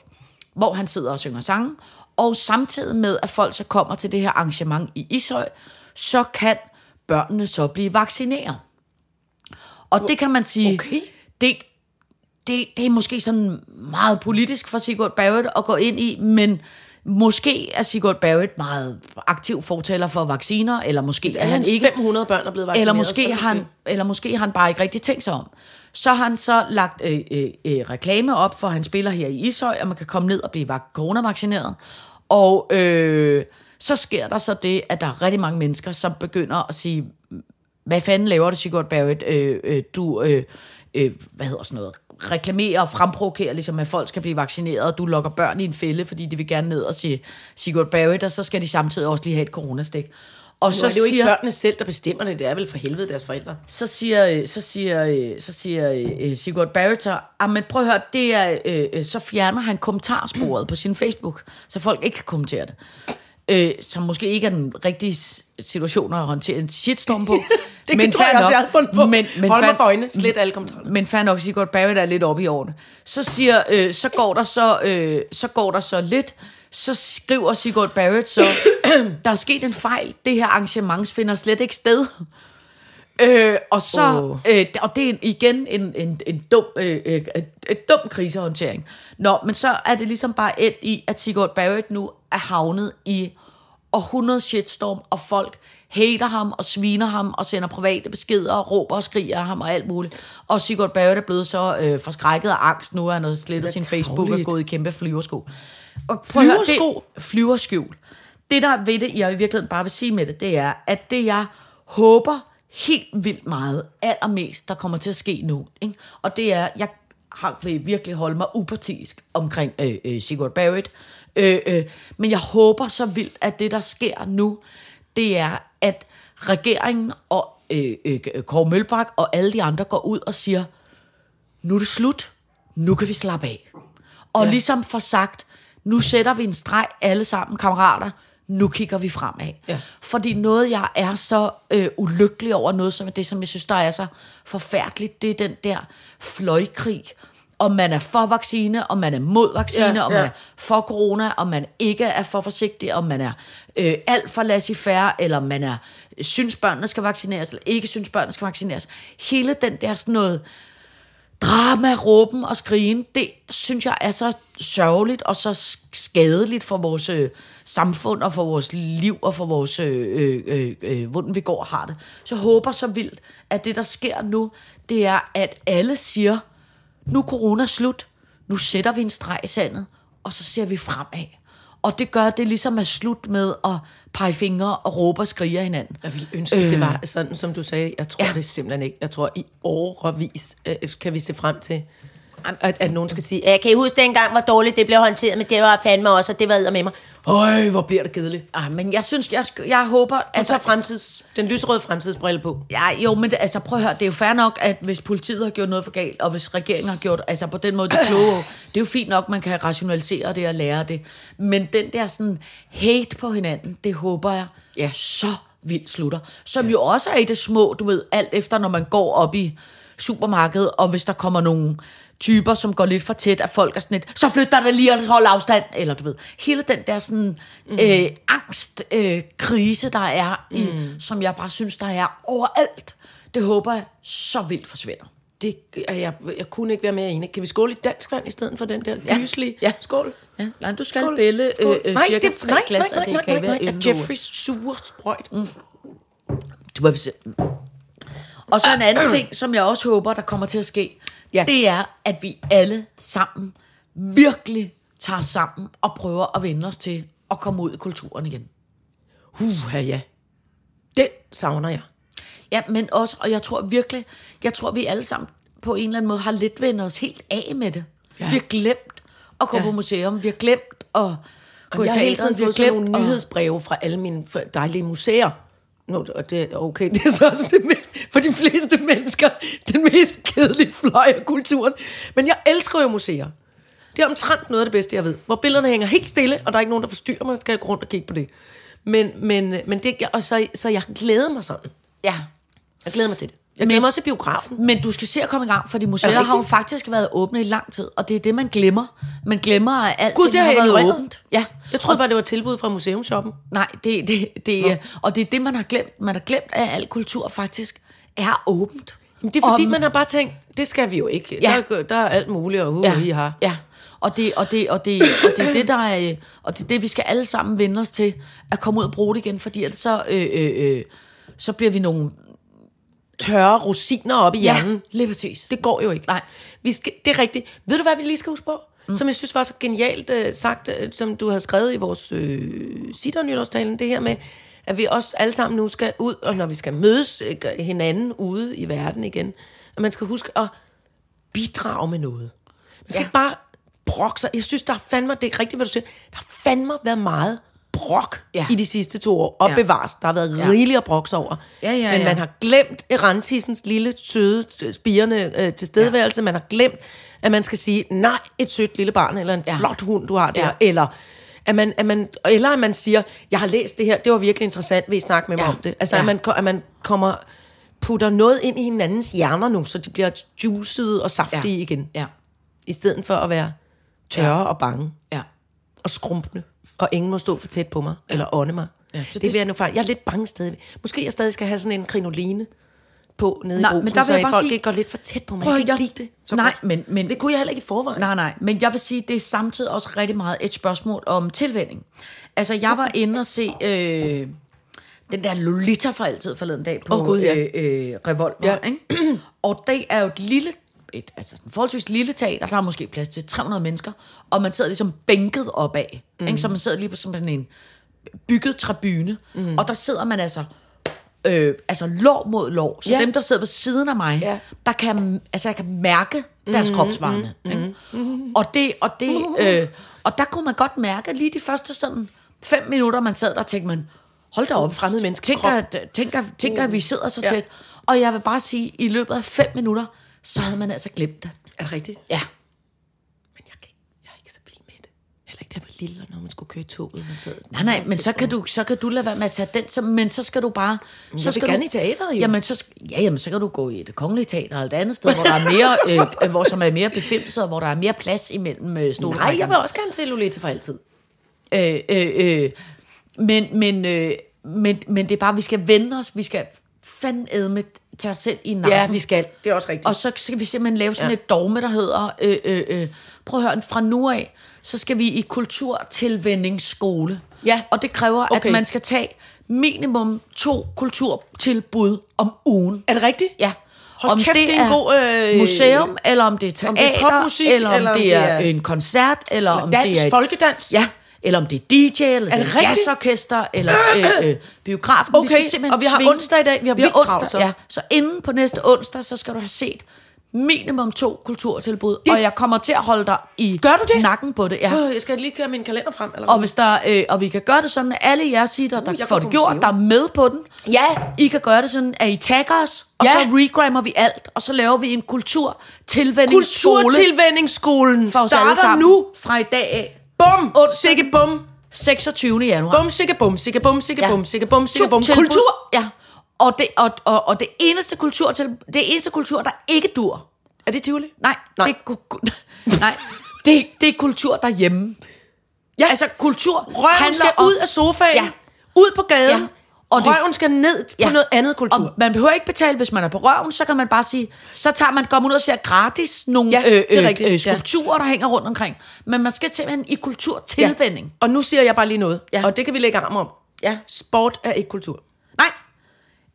[SPEAKER 4] hvor han sidder og synger sange, og samtidig med, at folk så kommer til det her arrangement i Ishøj, så kan børnene så blive vaccineret. Og det kan man sige,
[SPEAKER 3] Okay.
[SPEAKER 4] det, det, det er måske sådan meget politisk for Sigurd Barrett at gå ind i, men måske er Sigurd Barrett meget aktiv fortaler for vacciner, eller måske er
[SPEAKER 3] Er
[SPEAKER 4] han
[SPEAKER 3] hans
[SPEAKER 4] ikke,
[SPEAKER 3] 500 børn er blevet vaccineret?
[SPEAKER 4] eller
[SPEAKER 3] så
[SPEAKER 4] måske,
[SPEAKER 3] er
[SPEAKER 4] har han, eller måske har han bare ikke rigtig tænkt sig om. Så har han så lagt øh, øh, øh, reklame op for, at han spiller her i Ishøj, og man kan komme ned og blive vac- coronavaccineret. Og øh, så sker der så det, at der er rigtig mange mennesker, som begynder at sige, hvad fanden laver du, Sigurd Barrett? Øh, øh, du, øh, øh, hvad hedder sådan noget, reklamerer og fremprovokerer, ligesom at folk skal blive vaccineret, og du lokker børn i en fælde, fordi de vil gerne ned og sige Sigurd Barrett, og så skal de samtidig også lige have et coronastik. Og
[SPEAKER 3] Så
[SPEAKER 4] så
[SPEAKER 3] er det jo ikke
[SPEAKER 4] siger,
[SPEAKER 3] børnene selv, der bestemmer det. Det er vel for helvede deres forældre.
[SPEAKER 4] så siger, øh, så siger, øh, så siger øh, øh, Sigurd Barrett, så, "Ah, men prøv at høre, det er, øh, øh, så fjerner han kommentarsporet på sin Facebook, så folk ikke kan kommentere det. Øh, som måske ikke er den rigtige s- situation at håndtere en shitstorm på.
[SPEAKER 3] Det
[SPEAKER 4] men
[SPEAKER 3] tror jeg
[SPEAKER 4] fair
[SPEAKER 3] også,
[SPEAKER 4] nok.
[SPEAKER 3] jeg havde fundet på.
[SPEAKER 4] Men, men
[SPEAKER 3] Hold mig
[SPEAKER 4] fair-
[SPEAKER 3] for øjnene. Slet alle kommentarer.
[SPEAKER 4] men fair nok, Sigurd Barrett er lidt oppe i årene. Så siger, øh, så går der så, øh, så går der så lidt, så skriver Sigurd Barrett så, der er sket en fejl, det her arrangement finder slet ikke sted. Øh, og så,
[SPEAKER 3] Åh.
[SPEAKER 4] øh, og det er igen en, en, en dum, øh, øh, et dum krisehåndtering. Nå, men så er det ligesom bare endt i, at Sigurd Barrett nu er havnet i og 100 shitstorm, og folk hater ham og sviner ham og sender private beskeder og råber og skriger af ham og alt muligt. Og Sigurd Barrett er blevet så øh, forskrækket af angst nu, at han har slettet sin Facebook og
[SPEAKER 3] tarveligt.
[SPEAKER 4] gået i kæmpe flyversko. Og prøv at høre,
[SPEAKER 3] Flyversko?
[SPEAKER 4] Det, flyverskjul. Det, der er ved det, jeg i virkeligheden bare vil sige med det, det er, at det, jeg håber helt vildt meget, allermest, der kommer til at ske nu, ikke? og det er, jeg har vil virkelig holde mig upartisk omkring øh, øh, Sigurd Barrett, øh, øh, men jeg håber så vildt, at det, der sker nu, det er, at regeringen og øh, øh, Kåre Mølbak og alle de andre går ud og siger, nu er det slut, nu kan vi slappe af. Og ja. ligesom for sagt, nu sætter vi en streg alle sammen, kammerater, nu kigger vi fremad.
[SPEAKER 3] Ja.
[SPEAKER 4] Fordi noget, jeg er så øh, ulykkelig over, noget som er det, som jeg synes, der er så forfærdeligt, det er den der fløjkrig. Om man er for vaccine, om man er mod vaccine,
[SPEAKER 3] Ja,
[SPEAKER 4] ja, om man
[SPEAKER 3] ja.
[SPEAKER 4] er for corona, om man ikke er for forsigtig, om man er øh, alt for laissez-faire, eller om man er, synes børnene skal vaccineres, eller ikke synes børnene skal vaccineres. Hele den der sådan noget, drama, råben og skrigen, det synes jeg er så sørgeligt og så sk- skadeligt for vores øh, samfund og for vores liv og for vores, øh, øh, øh, øh, hvordan vi går og har det. Så jeg håber så vildt, at det der sker nu, det er, at alle siger, nu er corona slut, nu sætter vi en streg i sandet, og så ser vi fremad. Og det gør at det ligesom er slut med at pege fingre og råbe og skrige af hinanden.
[SPEAKER 3] Jeg ville ønske, øh. det var sådan, som du sagde. Jeg tror ja. det simpelthen ikke. Jeg tror, i årevis øh, kan vi se frem til, at, at nogen skal sige, "Ja, kan I huske dengang, hvor dårligt det blev håndteret, men det var fandme også, og det var med mig. Øj, hvor bliver det kedeligt.
[SPEAKER 4] Ej, Ah, men jeg synes, jeg, jeg håber...
[SPEAKER 3] Og så fremtids, den lyserøde fremtidsbrille på.
[SPEAKER 4] Ja, jo, men det, altså prøv at høre, det er jo fair nok, at hvis politiet har gjort noget for galt, og hvis regeringen har gjort, altså på den måde, de kloge, det er jo fint nok, man kan rationalisere det og lære det. Men den der sådan hate på hinanden, det håber jeg
[SPEAKER 3] Ja.
[SPEAKER 4] ja. så vildt slutter. Som ja. jo også er i det små, du ved, alt efter, når man går op i supermarkedet, og hvis der kommer nogle typer, som går lidt for tæt, at folk er sådan lidt, så flytter der lige og hold afstand, eller du ved, hele den der sådan mm. øh, angstkrise, øh, krise, der er, i,
[SPEAKER 3] Mm.
[SPEAKER 4] som jeg bare synes, der er overalt, det håber jeg så vildt forsvinder.
[SPEAKER 3] Det, jeg, jeg, jeg kunne ikke være mere enig. Kan vi skåle i dansk vand i stedet for den der
[SPEAKER 4] Ja.
[SPEAKER 3] gyselige?
[SPEAKER 4] Ja.
[SPEAKER 3] Skål.
[SPEAKER 4] Ja, nej, du skal
[SPEAKER 3] Skål.
[SPEAKER 4] bælge øh,
[SPEAKER 3] Skål.
[SPEAKER 4] øh,
[SPEAKER 3] Nej,
[SPEAKER 4] cirka
[SPEAKER 3] det-
[SPEAKER 4] tre
[SPEAKER 3] nej,
[SPEAKER 4] glas
[SPEAKER 3] nej,
[SPEAKER 4] af det
[SPEAKER 3] nej,
[SPEAKER 4] kava
[SPEAKER 3] nej, nej, af
[SPEAKER 4] inden du-
[SPEAKER 3] Jeffreys sure sprøjt. Mm.
[SPEAKER 4] Du må bestemme. Og så en anden ting, som jeg også håber, der kommer til at ske,
[SPEAKER 3] Ja.
[SPEAKER 4] ja. det er, at vi alle sammen virkelig tager sammen og prøver at vende os til at komme ud i kulturen igen.
[SPEAKER 3] Uha, ja. Den savner jeg.
[SPEAKER 4] Ja, men også, og jeg tror virkelig, jeg tror, vi alle sammen på en eller anden måde har lidt vendt os helt af med det. Ja. Vi har glemt at gå
[SPEAKER 3] Ja.
[SPEAKER 4] ja. på museum, vi har glemt at gå i
[SPEAKER 3] jeg har hele tiden
[SPEAKER 4] teateret, vi har
[SPEAKER 3] fået sådan
[SPEAKER 4] glemt
[SPEAKER 3] nogle nyhedsbreve fra alle mine f- dejlige museer. Nå, og det, okay, det er så også det mest, for de fleste mennesker den mest kedelige fløj af kulturen. Men jeg elsker jo museer. Det er omtrent noget af det bedste, jeg ved. Hvor billederne hænger helt stille, og der er ikke nogen, der forstyrrer mig, så skal jeg gå rundt og kigge på det. Men, men, men det, jeg- og så, så jeg glæder mig sådan.
[SPEAKER 4] Ja.
[SPEAKER 3] Jeg glæder mig til det. Jeg glæder mig også til biografen.
[SPEAKER 4] Men du skal se at komme i gang, fordi museer
[SPEAKER 3] rigtigt?
[SPEAKER 4] har jo faktisk været åbne i lang tid, og det er det, man glemmer. Man glemmer, at alt
[SPEAKER 3] Gud, det har
[SPEAKER 4] har
[SPEAKER 3] jeg
[SPEAKER 4] været
[SPEAKER 3] ignoreret.
[SPEAKER 4] åbent. Ja.
[SPEAKER 3] Jeg troede bare, det var et tilbud fra museumshoppen.
[SPEAKER 4] Nej, det, det, det, og det er det, man har glemt. Man har glemt, at al kultur faktisk er åbent.
[SPEAKER 3] Jamen, det er fordi,
[SPEAKER 4] Om-
[SPEAKER 3] man har bare tænkt, det skal vi jo ikke. Ja.
[SPEAKER 4] Ja.
[SPEAKER 3] Der, er- der er alt muligt, og uh, ja.
[SPEAKER 4] ja,
[SPEAKER 3] har.
[SPEAKER 4] ja. Og det, og, det, og, det, og det er det, der er, øh, og det er det, vi skal alle sammen vende os til, at komme ud og bruge det igen, fordi ellers så, øh, øh, øh, så bliver vi nogle...
[SPEAKER 3] tørre rosiner op i ja. hjernen.
[SPEAKER 4] lige præcis.
[SPEAKER 3] Det går jo ikke. Nej. Vi skal, det er rigtigt. Ved du, hvad vi lige skal huske på? Mm. Som jeg synes var så genialt øh, sagt, øh, som du havde skrevet i vores øh, sitter det her med, at vi også alle sammen nu skal ud, og når vi skal mødes øh, gør- hinanden ude i verden igen, at man skal huske at bidrage med noget. Man skal ja.
[SPEAKER 4] Ja.
[SPEAKER 3] ikke bare brokke sig. Jeg synes, der er fandme, det er rigtigt, hvad du siger, der har fandme været meget brok ja.
[SPEAKER 4] Ja.
[SPEAKER 3] i de sidste to år, og ja.
[SPEAKER 4] Ja.
[SPEAKER 3] bevares. Der har været
[SPEAKER 4] Ja.
[SPEAKER 3] rigeligt at brokke sig over.
[SPEAKER 4] Ja, ja,
[SPEAKER 3] Men
[SPEAKER 4] ja.
[SPEAKER 3] man har glemt Erantissens lille, søde, øh, spirende øh, tilstedeværelse. Ja. Man har glemt, at man skal sige, nej, et sødt lille barn, eller en ja.
[SPEAKER 4] Ja.
[SPEAKER 3] flot hund, du har der. Ja.
[SPEAKER 4] Ja.
[SPEAKER 3] Eller, at man, at man, eller at man siger, jeg har læst det her, det var virkelig interessant, vil I snakke med mig
[SPEAKER 4] Ja.
[SPEAKER 3] om det? Altså, ja.
[SPEAKER 4] Ja.
[SPEAKER 3] at, man, ko- at man kommer putter noget ind i hinandens hjerner nu, så de bliver juicede og saftige ja. igen.
[SPEAKER 4] Ja,
[SPEAKER 3] I stedet for at være tørre ja. og bange
[SPEAKER 4] ja.
[SPEAKER 3] og skrumpende, og ingen må stå for tæt på mig, ja. eller ånde mig. Ja,
[SPEAKER 4] Ja,
[SPEAKER 3] så det,
[SPEAKER 4] så det-
[SPEAKER 3] det vil jeg nu faktisk. Jeg er lidt bange stadig. Måske jeg stadig skal have sådan en krinoline på nede
[SPEAKER 4] Nej,
[SPEAKER 3] i
[SPEAKER 4] men
[SPEAKER 3] brusen,
[SPEAKER 4] der vil
[SPEAKER 3] så
[SPEAKER 4] jeg
[SPEAKER 3] I
[SPEAKER 4] bare
[SPEAKER 3] folk
[SPEAKER 4] sige-
[SPEAKER 3] ikke går lidt for tæt på mig.
[SPEAKER 4] Prøv
[SPEAKER 3] Jeg
[SPEAKER 4] at
[SPEAKER 3] kan ikke
[SPEAKER 4] jeg-
[SPEAKER 3] lide det. Så
[SPEAKER 4] Nej,
[SPEAKER 3] godt.
[SPEAKER 4] men- men-
[SPEAKER 3] det kunne jeg heller ikke i forvejen.
[SPEAKER 4] Nej, nej, men jeg vil sige, det er samtidig også rigtig meget et spørgsmål om tilvænning. Altså, jeg var inde og se øh, den der Lolita for altid forleden dag på
[SPEAKER 3] Åh, Gud, ja.
[SPEAKER 4] øh, øh, Revolver,
[SPEAKER 3] Ja.
[SPEAKER 4] ja. ikke? Og det er jo et lille, et, altså sådan forholdsvis lille teater, der er måske plads til 300 mennesker, og man sidder ligesom bænket opad, mm.
[SPEAKER 3] Mhm.
[SPEAKER 4] ikke? Så man sidder lige på sådan en bygget tribune,
[SPEAKER 3] Mhm.
[SPEAKER 4] mm. og der sidder man altså øh, altså lår mod lår. Så
[SPEAKER 3] Ja.
[SPEAKER 4] ja. dem, der sidder ved siden af mig,
[SPEAKER 3] Ja.
[SPEAKER 4] ja. der kan, altså jeg kan mærke
[SPEAKER 3] Mhm.
[SPEAKER 4] deres mm, kropsvarme. Mm, ikke? Og det, og det, øh, og der kunne man godt mærke lige de første sådan fem minutter, man sad der, tænkte man, hold da op,
[SPEAKER 3] fremmed menneskes
[SPEAKER 4] tænker, at- tænker, tænker, at vi sidder så
[SPEAKER 3] Mhm. Ja.
[SPEAKER 4] tæt. Og jeg vil bare sige, i løbet af fem minutter, så havde man altså glemt det.
[SPEAKER 3] Er det rigtigt?
[SPEAKER 4] Ja.
[SPEAKER 3] Men jeg, kan ikke, jeg er ikke så vild med det. Heller ikke, da jeg var lille, og når man skulle køre i toget. Man sad.
[SPEAKER 4] Nej, nej, men så kan, du, så kan du lade være med at tage den, så, men så skal du bare... Så
[SPEAKER 3] jeg vil
[SPEAKER 4] skal
[SPEAKER 3] gerne
[SPEAKER 4] du,
[SPEAKER 3] i teateret, jo.
[SPEAKER 4] Jamen, så, sk- ja, jamen, så kan du gå i det kongelige teater eller et andet sted, hvor der er mere, øh, øh, hvor som er mere befimset, og hvor der er mere plads imellem øh, stolene.
[SPEAKER 3] Nej, jeg vil også gerne se Lolita for altid.
[SPEAKER 4] Øh, øh, øh, men, men, øh, men, men det er bare, vi skal vende os, vi skal fandme tage os selv i nakken.
[SPEAKER 3] Ja, Ah, vi skal. Det er også rigtigt.
[SPEAKER 4] Og så skal vi simpelthen lave sådan ja. et dogme, der hedder, øh, øh, øh, prøv at høre, fra nu af, så skal vi i kulturtilvændingsskole.
[SPEAKER 3] Ja.
[SPEAKER 4] Og det kræver, okay.
[SPEAKER 3] Okay.
[SPEAKER 4] at man skal tage minimum to kulturtilbud om ugen.
[SPEAKER 3] er det rigtigt?
[SPEAKER 4] Ja.
[SPEAKER 3] Hold kæft, det er en god, øh,
[SPEAKER 4] museum, eller om det er teater,
[SPEAKER 3] om det er popmusik,
[SPEAKER 4] eller om det, er, en koncert, eller om
[SPEAKER 3] dans,
[SPEAKER 4] det er... et-
[SPEAKER 3] folkedans.
[SPEAKER 4] Ja, eller om det er DJ,
[SPEAKER 3] Er
[SPEAKER 4] eller er
[SPEAKER 3] det
[SPEAKER 4] det,
[SPEAKER 3] rigtigt?
[SPEAKER 4] jazzorkester, eller øh, øh, biografen.
[SPEAKER 3] Okay, og vi har onsdag i dag. Vi har vildt travlt, så.
[SPEAKER 4] onsdag, ja. Så inden på næste onsdag, så skal du have set minimum to kulturtilbud, det... og jeg kommer til at holde dig i
[SPEAKER 3] Gør du det?
[SPEAKER 4] nakken på det. Ja.
[SPEAKER 3] Øh, Jeg skal lige køre min kalender frem. Eller
[SPEAKER 4] Og, hvis der, øh, og vi kan gøre det sådan, at alle jer sitter, der
[SPEAKER 3] jeg
[SPEAKER 4] uh,
[SPEAKER 3] går
[SPEAKER 4] får
[SPEAKER 3] på
[SPEAKER 4] det gjort,
[SPEAKER 3] museum.
[SPEAKER 4] der er med på den.
[SPEAKER 3] Ja.
[SPEAKER 4] I kan gøre det sådan, at I tagger os, og
[SPEAKER 3] Ja.
[SPEAKER 4] så regrammer vi alt, og så laver vi en kulturtilvændingsskole
[SPEAKER 3] Kulturtilvændingsskolen
[SPEAKER 4] for os alle
[SPEAKER 3] starter
[SPEAKER 4] sammen.
[SPEAKER 3] nu.
[SPEAKER 4] Fra i dag af,
[SPEAKER 3] Bum, sikke bum.
[SPEAKER 4] 26. januar.
[SPEAKER 3] Bum, sikke bum, sikke bum, sikke bum, sikke bum, sikke bum.
[SPEAKER 4] Kultur.
[SPEAKER 3] Kultur.
[SPEAKER 4] Ja. Og det, og, og, og det eneste kultur, til, det eneste kultur, der ikke dur.
[SPEAKER 3] Er det Tivoli?
[SPEAKER 4] Nej,
[SPEAKER 3] Nej.
[SPEAKER 4] Nej. det er ku- ku- Nej. Det, det er kultur derhjemme. Ja. Altså kultur
[SPEAKER 3] Røven skal ud af sofaen, ja.
[SPEAKER 4] Ja.
[SPEAKER 3] ud på gaden, ja.
[SPEAKER 4] Ja.
[SPEAKER 3] og
[SPEAKER 4] Og det-
[SPEAKER 3] røven skal ned på
[SPEAKER 4] Ja.
[SPEAKER 3] noget andet kultur.
[SPEAKER 4] Og man behøver ikke betale, hvis man er på røven, så kan man bare sige, så tager man, går man ud og ser gratis nogle
[SPEAKER 3] Ja,
[SPEAKER 4] ja,
[SPEAKER 3] det
[SPEAKER 4] øh,
[SPEAKER 3] er
[SPEAKER 4] øh,
[SPEAKER 3] rigtigt. Ja.
[SPEAKER 4] øh, skulpturer, der hænger rundt omkring. Men man skal simpelthen i kulturtilvænding.
[SPEAKER 3] Ja. Og nu siger jeg bare lige noget, ja.
[SPEAKER 4] Ja.
[SPEAKER 3] og det kan vi lægge arm om.
[SPEAKER 4] Ja.
[SPEAKER 3] Sport er ikke kultur.
[SPEAKER 4] Nej.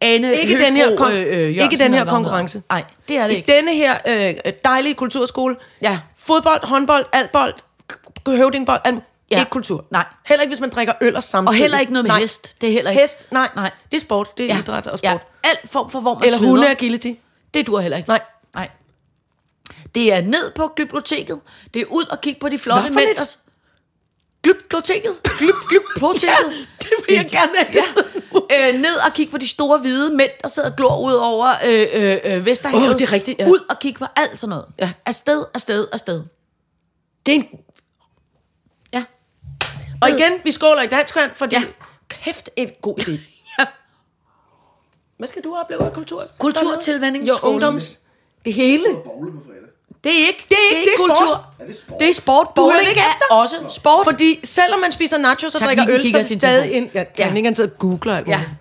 [SPEAKER 4] Ane
[SPEAKER 3] Ikke
[SPEAKER 4] Høgsbro,
[SPEAKER 3] den her, kon-
[SPEAKER 4] øh, øh, Jørgensen,
[SPEAKER 3] ikke den her
[SPEAKER 4] eller hvad hun
[SPEAKER 3] konkurrence.
[SPEAKER 4] hedder. Nej, det er det
[SPEAKER 3] I
[SPEAKER 4] ikke.
[SPEAKER 3] denne her øh, dejlige kulturskole,
[SPEAKER 4] Ja.
[SPEAKER 3] fodbold, håndbold, altbold, k- k- høvdingbold, alt, ja.
[SPEAKER 4] Ja.
[SPEAKER 3] ikke kultur.
[SPEAKER 4] Nej.
[SPEAKER 3] Heller ikke, hvis man drikker øl og samtidig.
[SPEAKER 4] Og heller ikke noget med
[SPEAKER 3] nej.
[SPEAKER 4] hest. Det er heller ikke.
[SPEAKER 3] Hest, nej.
[SPEAKER 4] Nej.
[SPEAKER 3] Det er sport, det er ja. idræt og sport.
[SPEAKER 4] Ja.
[SPEAKER 3] Ja.
[SPEAKER 4] Alt form for, hvor man
[SPEAKER 3] Eller
[SPEAKER 4] sveder.
[SPEAKER 3] hunde og agility.
[SPEAKER 4] Det duer heller ikke.
[SPEAKER 3] Nej.
[SPEAKER 4] Nej. Det er ned på glyptoteket. Det er ud og kigge på de flotte
[SPEAKER 3] Hvad for lidt?
[SPEAKER 4] mænd. Glyptoteket. Glyp, glyptoteket.
[SPEAKER 3] det vil jeg gerne have.
[SPEAKER 4] Ja. Øh, ned og kigge på de store hvide mænd, der sidder og glor ud over øh, øh, øh, Vesterhavet.
[SPEAKER 3] Åh, det er rigtigt, ja.
[SPEAKER 4] Ud og kigge på alt sådan noget.
[SPEAKER 3] Ja.
[SPEAKER 4] Afsted, afsted, afsted.
[SPEAKER 3] Det er en
[SPEAKER 4] Ja.
[SPEAKER 3] Og igen, vi skåler i dansk vand, fordi ja.
[SPEAKER 4] Ja.
[SPEAKER 3] kæft en god idé. Hvad skal du opleve af kultur?
[SPEAKER 4] Kulturtilvændingsskolen.
[SPEAKER 3] Jo, ungdoms. Det hele. Det
[SPEAKER 5] Bowle på fredag.
[SPEAKER 4] Det er ikke, det er ikke,
[SPEAKER 3] det er sport.
[SPEAKER 5] Er det sport?
[SPEAKER 4] Det er sport.
[SPEAKER 3] hører
[SPEAKER 4] Bowling
[SPEAKER 3] ikke efter?
[SPEAKER 4] er også sport.
[SPEAKER 3] Fordi selvom man spiser nachos og
[SPEAKER 4] Teknikken
[SPEAKER 3] drikker øl, så
[SPEAKER 4] kigger
[SPEAKER 3] er det
[SPEAKER 4] sin
[SPEAKER 3] stadig
[SPEAKER 4] telefon.
[SPEAKER 3] en... Ja,
[SPEAKER 4] Ja.
[SPEAKER 3] teknikken han sidder og googler alt
[SPEAKER 4] Ja.
[SPEAKER 3] muligt.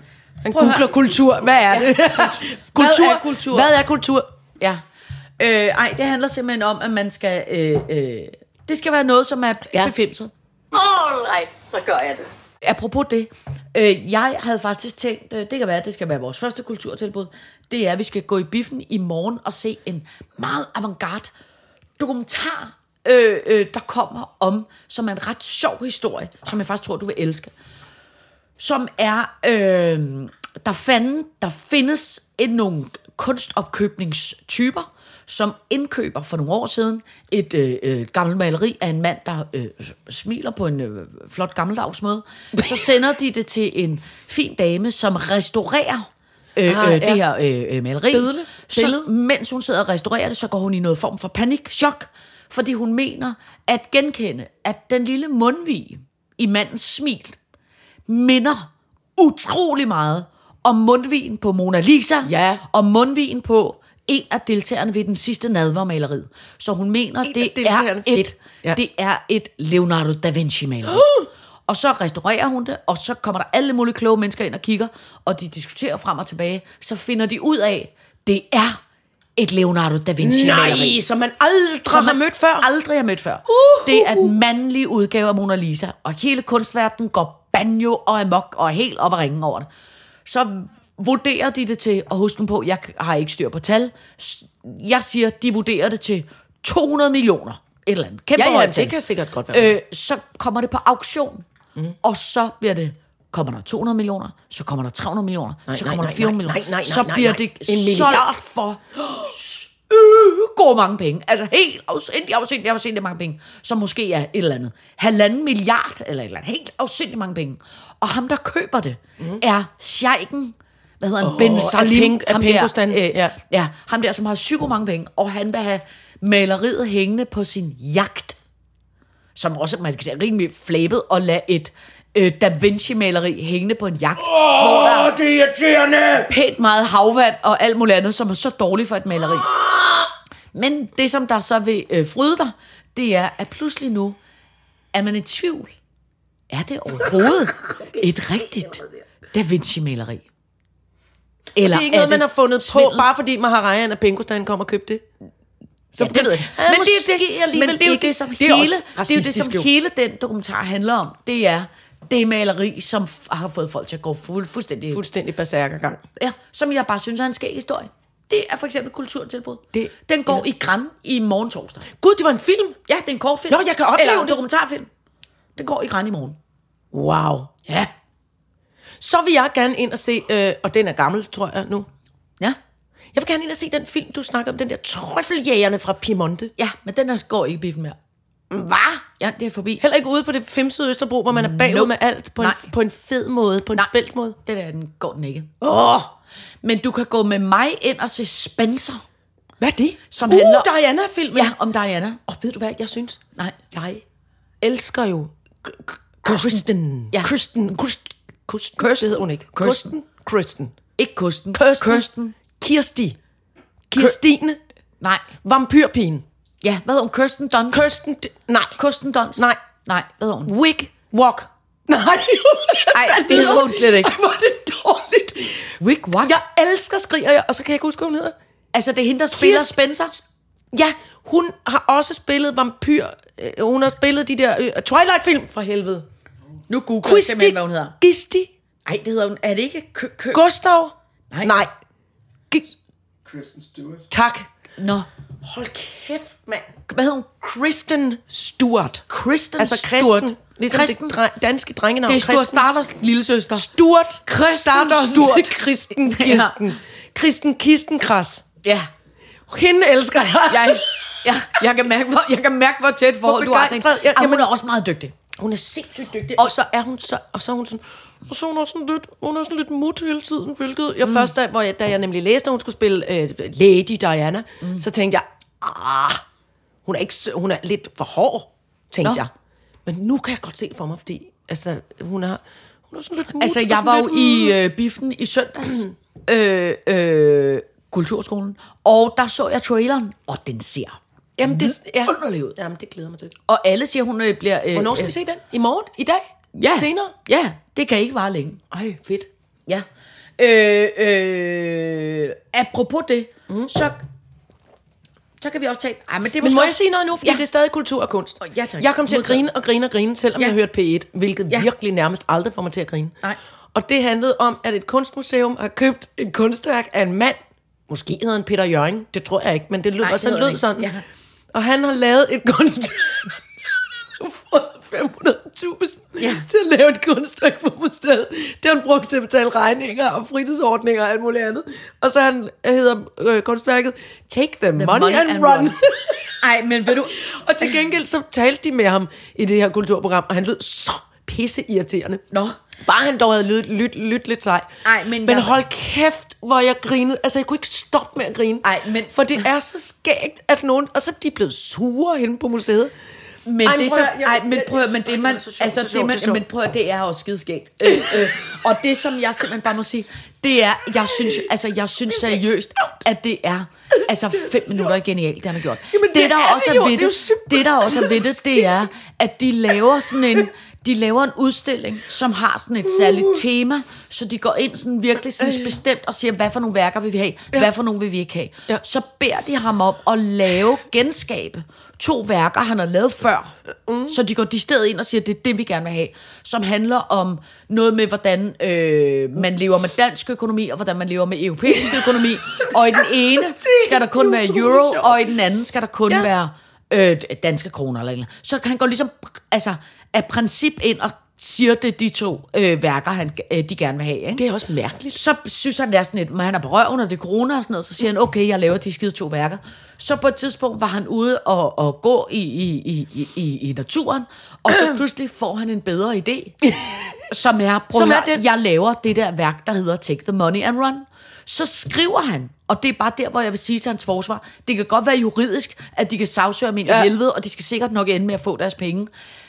[SPEAKER 3] Han
[SPEAKER 4] Prøv at
[SPEAKER 3] googler
[SPEAKER 4] høre.
[SPEAKER 3] kultur. Hvad er det? kultur.
[SPEAKER 4] Hvad er kultur?
[SPEAKER 3] Hvad er kultur?
[SPEAKER 4] Ja. Øh, ej, det handler simpelthen om, at man skal... Øh, øh, det skal være noget, som er ja. befimset.
[SPEAKER 2] All right, så gør jeg det.
[SPEAKER 4] Apropos det, øh, jeg havde faktisk tænkt, øh, det kan være, at det skal være vores første kulturtilbud, det er, at vi skal gå i biffen i morgen og se en meget avantgarde dokumentar, øh, øh, der kommer om, som er en ret sjov historie, som jeg faktisk tror, du vil elske. Som er, øh, der, fanden, der findes en, nogle kunstopkøbningstyper, som indkøber for nogle år siden et, øh, øh, et gammelt maleri af en mand, der øh, smiler på en øh, flot gammeldags måde. Så sender de det til en fin dame, som restaurerer øh,
[SPEAKER 3] Ah,
[SPEAKER 4] ah, øh,
[SPEAKER 3] ja.
[SPEAKER 4] det her øh, øh, maleri.
[SPEAKER 3] Billede.
[SPEAKER 4] Så,
[SPEAKER 3] Billede.
[SPEAKER 4] mens hun sidder og restaurerer det, så går hun i noget form for panik, chok, fordi hun mener at genkende, at den lille mundvige i mandens smil minder utrolig meget om mundvigen på Mona Lisa,
[SPEAKER 3] Ja.
[SPEAKER 4] og mundvigen på en af deltagerne ved den sidste nadvermaleriet. Så hun mener,
[SPEAKER 3] af
[SPEAKER 4] det er,
[SPEAKER 3] deltagerne. Fedt.
[SPEAKER 4] et,
[SPEAKER 3] Ja.
[SPEAKER 4] ja. det er et Leonardo da Vinci-maleri. Og så restaurerer hun det, og så kommer der alle mulige kloge mennesker ind og kigger, og de diskuterer frem og tilbage. Så finder de ud af, det er et Leonardo da Vinci
[SPEAKER 3] Nej, som man aldrig som
[SPEAKER 4] som
[SPEAKER 3] har mødt før.
[SPEAKER 4] Aldrig har mødt før. Uh, det er den mandlige udgave af Mona Lisa, og hele kunstverdenen går banjo og amok og er helt op og ringen over det. Så vurderer de det til, og husk nu på, jeg har ikke styr på tal, S- jeg siger, de vurderer det til 200 millioner. Et eller andet. Kæmpe
[SPEAKER 3] Ja, ja,
[SPEAKER 4] højt
[SPEAKER 3] det
[SPEAKER 4] tal.
[SPEAKER 3] kan sikkert godt være.
[SPEAKER 4] Øh, så kommer det på auktion, mm. og så bliver det kommer der 200 millioner, så kommer der 300 millioner, nej, så
[SPEAKER 3] nej,
[SPEAKER 4] kommer
[SPEAKER 3] nej,
[SPEAKER 4] der 400
[SPEAKER 3] nej, nej,
[SPEAKER 4] millioner,
[SPEAKER 3] nej, nej,
[SPEAKER 4] så
[SPEAKER 3] nej,
[SPEAKER 4] bliver
[SPEAKER 3] nej.
[SPEAKER 4] det
[SPEAKER 3] En milliard.
[SPEAKER 4] solgt for øh, gode mange penge. Altså helt afsindig, afsindig, afsindig mange penge. Som måske er et eller andet. Halvanden milliard eller et eller andet. Helt afsindig mange penge. Og ham, der køber det, mm. er sjejken. Hvad hedder han? Oh, ben
[SPEAKER 3] af
[SPEAKER 4] Salim.
[SPEAKER 3] Pink- af
[SPEAKER 4] ham
[SPEAKER 3] Pinkostan,
[SPEAKER 4] der, øh,
[SPEAKER 3] ja.
[SPEAKER 4] ja. ja. ham der, som har psyko mange penge. Og han vil have maleriet hængende på sin jagt. Som også, man kan sige, er rimelig flabet og lade et øh, Da Vinci-maleri hængende på en jagt. Oh, hvor der
[SPEAKER 5] Det er irriterende!
[SPEAKER 4] pænt meget havvand og alt muligt andet, som er så dårligt for et maleri. Men det, som der så vil øh, fryde dig, det er, at pludselig nu er man i tvivl. Er det overhovedet et rigtigt Da Vinci-maleri? Eller
[SPEAKER 3] Det er ikke noget, man har fundet på, bare fordi Maharajan af Pengostan kom og købte det.
[SPEAKER 4] Så ja, det ved jeg.
[SPEAKER 3] Ja,
[SPEAKER 4] Men, det,
[SPEAKER 3] måske
[SPEAKER 4] er det,
[SPEAKER 3] alligevel
[SPEAKER 4] men det er jo
[SPEAKER 3] ikke.
[SPEAKER 4] det, som
[SPEAKER 3] Det er
[SPEAKER 4] hele,
[SPEAKER 3] også
[SPEAKER 4] det er jo det,
[SPEAKER 3] racistisk,
[SPEAKER 4] som
[SPEAKER 3] jo.
[SPEAKER 4] hele den dokumentar handler om. Det er det maleri, som f- har fået folk til at gå fuld, fuldstændig
[SPEAKER 3] Fuldstændig berserkergang.
[SPEAKER 4] ja, som jeg bare synes er en skæg historie. Det er for eksempel kulturtilbud.
[SPEAKER 3] Det-
[SPEAKER 4] den går ja. i græn i morgen torsdag.
[SPEAKER 3] Gud, det var en film.
[SPEAKER 4] Ja, det er en kortfilm.
[SPEAKER 3] Nå, jeg kan opleve
[SPEAKER 4] Eller en
[SPEAKER 3] det.
[SPEAKER 4] dokumentarfilm. Den går i græn i morgen.
[SPEAKER 3] Wow.
[SPEAKER 4] Ja.
[SPEAKER 3] Så vil jeg gerne ind og se, øh, og den er gammel, tror jeg nu.
[SPEAKER 4] Ja.
[SPEAKER 3] Jeg vil gerne ind og se den film, du snakker om, den der Trøffeljægerne fra Piemonte.
[SPEAKER 4] Ja, men den der går ikke i biffen mere.
[SPEAKER 3] Hvad?
[SPEAKER 4] Ja, det er forbi.
[SPEAKER 3] Heller ikke ude på det femsede Østerbro, hvor man er bagud
[SPEAKER 4] Nope.
[SPEAKER 3] med alt på en,
[SPEAKER 4] Nej.
[SPEAKER 3] på en fed måde, på en
[SPEAKER 4] Nej.
[SPEAKER 3] spældt måde.
[SPEAKER 4] Den der, den går den ikke. Åh! Oh, men du kan gå med mig ind og se Spencer.
[SPEAKER 3] Hvad er det? Som
[SPEAKER 4] Som
[SPEAKER 3] uh,
[SPEAKER 4] handler-
[SPEAKER 3] Diana-filmen.
[SPEAKER 4] Ja, om Diana.
[SPEAKER 3] Og ved du hvad, jeg synes?
[SPEAKER 4] Nej.
[SPEAKER 3] Jeg elsker jo K- K- Kirsten.
[SPEAKER 4] Ja.
[SPEAKER 3] Kirsten. Kirsten. Kirsten. Kirsten hedder hun ikke. Kirsten. Kirsten.
[SPEAKER 4] Ikke Kusten.
[SPEAKER 3] Kirsten.
[SPEAKER 4] Kirsten.
[SPEAKER 3] Kirsti. Kirstine.
[SPEAKER 4] Nej.
[SPEAKER 3] Vampyrpigen.
[SPEAKER 4] Ja, hvad hedder hun? Kirsten Dunst.
[SPEAKER 3] Kirsten. D- Nej.
[SPEAKER 4] Kirsten Dunst.
[SPEAKER 3] Nej.
[SPEAKER 4] Nej, hvad hedder hun?
[SPEAKER 3] Wig. Walk. Nej.
[SPEAKER 4] Ej, det hedder hun slet ikke.
[SPEAKER 3] Ej, hvor er det dårligt.
[SPEAKER 4] Wick what? Ja.
[SPEAKER 3] Jeg elsker, skriger jeg, og så kan jeg ikke huske, hvad hun hedder.
[SPEAKER 4] Altså, det er hende, der spiller
[SPEAKER 3] Kirsten-
[SPEAKER 4] Spencer.
[SPEAKER 3] Ja, hun har også spillet vampyr. Øh, hun har spillet de der øh, Twilight-film, for helvede.
[SPEAKER 4] Nu googler jeg
[SPEAKER 3] Christi.
[SPEAKER 4] simpelthen, hvad hun hedder.
[SPEAKER 3] Gisti.
[SPEAKER 4] Ej, det hedder hun. Er det ikke kø, kø?
[SPEAKER 3] Gustav?
[SPEAKER 4] Nej.
[SPEAKER 3] Nej. Gi-
[SPEAKER 5] Kristen Stewart.
[SPEAKER 3] tak.
[SPEAKER 4] Nå.
[SPEAKER 3] Hold kæft, mand.
[SPEAKER 4] Hvad hedder hun?
[SPEAKER 3] Kristen Stewart.
[SPEAKER 4] Kristen
[SPEAKER 3] Altså
[SPEAKER 4] Stewart.
[SPEAKER 3] Kristen. Ligesom Kristen.
[SPEAKER 4] Kristen.
[SPEAKER 3] det dre- danske drengenavn.
[SPEAKER 4] Det er Stuart
[SPEAKER 3] Kristen.
[SPEAKER 4] Starters lille søster.
[SPEAKER 3] Stewart.
[SPEAKER 4] Kristen
[SPEAKER 3] Stardust.
[SPEAKER 4] Stewart.
[SPEAKER 3] Kristen
[SPEAKER 4] Ja.
[SPEAKER 3] Kirsten. Kristen Kistenkras.
[SPEAKER 4] Ja.
[SPEAKER 3] Hende elsker jeg.
[SPEAKER 4] Jeg, ja, jeg kan mærke, hvor, jeg kan mærke, hvor tæt forhold du har til.
[SPEAKER 3] begejstret. Ja,
[SPEAKER 4] Ej, hun
[SPEAKER 3] jamen-
[SPEAKER 4] er også meget dygtig.
[SPEAKER 3] Hun er sindssygt dygtig. Og så er hun så, og så er hun sådan, og så er hun også sådan lidt, hun er sådan lidt mut hele tiden, hvilket jeg mm. først, da, hvor jeg, da jeg nemlig læste, at hun skulle spille øh, Lady Diana, mm. så tænkte jeg, ah, hun er, ikke, sø- hun er lidt for hård, tænkte
[SPEAKER 4] Nå.
[SPEAKER 3] Nå. jeg. Men nu kan jeg godt se det for mig, fordi altså, hun er, hun er sådan lidt mut.
[SPEAKER 4] Altså,
[SPEAKER 3] og
[SPEAKER 4] jeg
[SPEAKER 3] sådan
[SPEAKER 4] var jo
[SPEAKER 3] lidt,
[SPEAKER 4] i øh, biffen i søndags. øh, øh, kulturskolen. Og der så jeg traileren. Og den ser.
[SPEAKER 3] Jamen, det, ja.
[SPEAKER 4] vidunderlig ud.
[SPEAKER 3] Jamen, det glæder mig til.
[SPEAKER 4] Og alle siger, hun øh, bliver... Øh,
[SPEAKER 3] Hvornår skal
[SPEAKER 4] øh,
[SPEAKER 3] vi se den? I morgen? I dag?
[SPEAKER 4] Ja.
[SPEAKER 3] Senere?
[SPEAKER 4] Ja, det kan ikke vare længe.
[SPEAKER 3] Ej, fedt.
[SPEAKER 4] Ja. Øh, øh, apropos det, mm. så, så kan vi også tale... Ej, men det er
[SPEAKER 3] Men
[SPEAKER 4] måske
[SPEAKER 3] må jeg
[SPEAKER 4] også-
[SPEAKER 3] sige noget nu? Fordi
[SPEAKER 4] Ja.
[SPEAKER 3] ja. det er stadig kultur og kunst.
[SPEAKER 4] ja, tak.
[SPEAKER 3] Jeg kom til at
[SPEAKER 4] Modtaget.
[SPEAKER 3] grine og grine og grine, selvom
[SPEAKER 4] Ja.
[SPEAKER 3] ja. jeg hørte P1, hvilket
[SPEAKER 4] Ja.
[SPEAKER 3] ja. virkelig nærmest aldrig får mig til at grine.
[SPEAKER 4] Nej.
[SPEAKER 3] Og det handlede om, at et kunstmuseum har købt et kunstværk af en mand. Måske hedder han Peter Jørgen. Det tror jeg ikke, men det lød,
[SPEAKER 4] Nej,
[SPEAKER 3] Nej,
[SPEAKER 4] det
[SPEAKER 3] sådan,
[SPEAKER 4] hedder
[SPEAKER 3] lød
[SPEAKER 4] han ikke.
[SPEAKER 3] sådan.
[SPEAKER 4] Ja.
[SPEAKER 3] Og han har lavet et kunstværk. Han har fået 500.000
[SPEAKER 4] Ja.
[SPEAKER 3] ja. til at lave et kunstværk for museet. Det har han brugt til at betale regninger og fritidsordninger og alt muligt andet. Og så han, hedder øh, kunstværket Take the, the money, money and, and run. run.
[SPEAKER 4] Ej, men ved du...
[SPEAKER 3] Og til gengæld så talte de med ham i det her kulturprogram, og han lød så pisseirriterende.
[SPEAKER 4] Nå.
[SPEAKER 3] Bare han dog havde lyttet lyt, lyt lidt sej.
[SPEAKER 4] Ej, men
[SPEAKER 3] men
[SPEAKER 4] jeg-
[SPEAKER 3] hold kæft, hvor jeg grinede. Altså, jeg kunne ikke stoppe med at grine.
[SPEAKER 4] Ej, men-
[SPEAKER 3] For det er så skægt, at nogen... Og så er de blevet sure henne på museet.
[SPEAKER 4] Men
[SPEAKER 3] Ej,
[SPEAKER 4] det
[SPEAKER 3] prøv
[SPEAKER 4] så,
[SPEAKER 3] at høre, jeg-
[SPEAKER 4] ej, men
[SPEAKER 3] jeg-
[SPEAKER 4] prøv at høre, men
[SPEAKER 3] jeg-
[SPEAKER 4] det
[SPEAKER 3] det
[SPEAKER 4] man,
[SPEAKER 3] er så sjovt,
[SPEAKER 4] altså
[SPEAKER 3] det er
[SPEAKER 4] det
[SPEAKER 3] sjovt, det er
[SPEAKER 4] man,
[SPEAKER 3] sjovt.
[SPEAKER 4] men prøv at høre, det er også skideskægt. Øh, øh, og det som jeg simpelthen bare må sige, det er, jeg synes, altså jeg synes seriøst, at det er, altså fem minutter er genialt, det han har gjort.
[SPEAKER 3] Jamen,
[SPEAKER 4] det,
[SPEAKER 3] det
[SPEAKER 4] der
[SPEAKER 3] er
[SPEAKER 4] også
[SPEAKER 3] det
[SPEAKER 4] er
[SPEAKER 3] jo,
[SPEAKER 4] ved
[SPEAKER 3] det er jo
[SPEAKER 4] det,
[SPEAKER 3] simpelthen
[SPEAKER 4] det der også er ved det, det er, at de laver sådan en, de laver en udstilling, som har sådan et særligt tema, så de går ind sådan virkelig sådan bestemt og siger, hvad for nogle værker vil vi have, hvad for nogle vil vi ikke have.
[SPEAKER 3] Ja.
[SPEAKER 4] Så beder de ham om at lave, genskabe to værker, han har lavet før. Så de går de sted ind og siger, det er det, vi gerne vil have, som handler om noget med, hvordan øh, man lever med dansk økonomi, og hvordan man lever med europæisk økonomi. Og i den ene skal der kun være
[SPEAKER 3] utrolig
[SPEAKER 4] euro,
[SPEAKER 3] sjovt.
[SPEAKER 4] og i den anden skal der kun
[SPEAKER 3] Ja.
[SPEAKER 4] ja. være øh, danske kroner eller, et eller andet. Så kan han gå ligesom altså, af princip ind og siger det de to øh, værker, han, øh, de gerne vil have. Ikke?
[SPEAKER 3] Det er også mærkeligt.
[SPEAKER 4] Så synes han, det er sådan lidt, men han er på røven, og det er corona og sådan noget, så siger han, okay, jeg laver de skide to værker. Så på et tidspunkt var han ude og, og gå i, i, i, i- i, i naturen, og så pludselig får han en bedre idé, som er, prøv
[SPEAKER 3] Som
[SPEAKER 4] som
[SPEAKER 3] er
[SPEAKER 4] er
[SPEAKER 3] det.
[SPEAKER 4] jeg laver det der værk, der hedder Take the Money and Run. Så skriver han, og det er bare der, hvor jeg vil sige til hans forsvar, det kan godt være juridisk, at de kan sagsøge min ja.
[SPEAKER 3] Ja.
[SPEAKER 4] i helvede, og de skal sikkert nok ende med at få deres penge.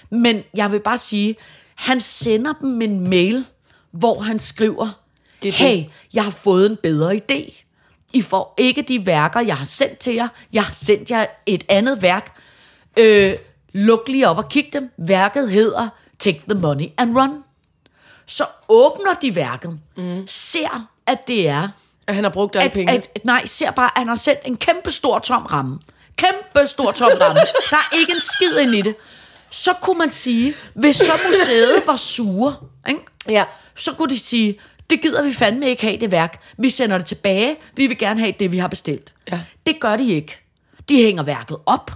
[SPEAKER 4] Men jeg vil bare sige, han sender dem en mail, hvor han skriver,
[SPEAKER 3] Det er
[SPEAKER 4] det
[SPEAKER 3] det.
[SPEAKER 4] hey, jeg har fået en bedre idé. I får ikke de værker, jeg har sendt til jer. Jeg har sendt jer et andet værk. Øh, luk lige op og kig dem. Værket hedder Take the Money and Run. Så åbner de værket, mm. ser, at det er...
[SPEAKER 3] At han har brugt alle
[SPEAKER 4] At,
[SPEAKER 3] pengene.
[SPEAKER 4] at, nej, ser bare, at han har sendt en kæmpe stor tom ramme. Kæmpe stor tom ramme. Der er ikke en skid ind i det. Så kunne man sige, hvis så museet var sure, ikke?
[SPEAKER 3] Ja.
[SPEAKER 4] så kunne de sige, det gider vi fandme ikke have det værk. Vi sender det tilbage. Vi vil gerne have det, vi har bestilt.
[SPEAKER 3] Ja.
[SPEAKER 4] Det gør de ikke. De hænger værket op.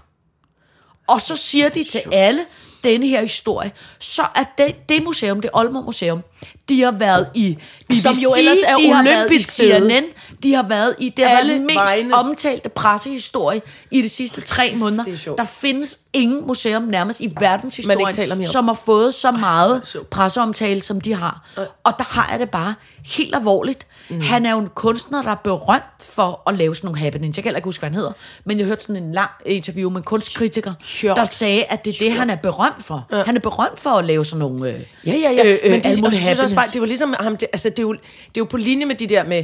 [SPEAKER 4] Og så siger de til alle denne her historie, så at det, det museum, det Aalborg Museum, de har været i BBC,
[SPEAKER 3] Som jo ellers er
[SPEAKER 4] de har været i
[SPEAKER 3] olympisk fede.
[SPEAKER 4] CNN, de har været i det
[SPEAKER 3] Alle
[SPEAKER 4] alle den mest
[SPEAKER 3] vegne.
[SPEAKER 4] vegne. omtalte pressehistorie i de sidste tre måneder.
[SPEAKER 3] det er sjovt.
[SPEAKER 4] Der findes ingen museum nærmest i
[SPEAKER 3] Man ikke taler mere
[SPEAKER 4] verdenshistorien,
[SPEAKER 3] om.
[SPEAKER 4] som har fået så meget
[SPEAKER 3] sjovt.
[SPEAKER 4] presseomtale, som de har. Og der har jeg det bare helt alvorligt. Mm. Han er jo en kunstner, der er berømt for at lave sådan nogle happenings. Jeg kan heller ikke huske, hvad han hedder, men jeg hørte sådan en lang interview med en kunstkritiker,
[SPEAKER 3] Sjovt.
[SPEAKER 4] der sagde, at det er det, han er berømt for. Han er berømt for at lave sådan nogle... Øh,
[SPEAKER 3] Ja, ja, ja.
[SPEAKER 4] Øh, øh,
[SPEAKER 3] men det,
[SPEAKER 4] alle
[SPEAKER 3] og
[SPEAKER 4] mulige
[SPEAKER 3] jeg synes også bare,
[SPEAKER 4] happenings.
[SPEAKER 3] det var ligesom ham, det, altså, det, er jo, det er jo på linje med de der med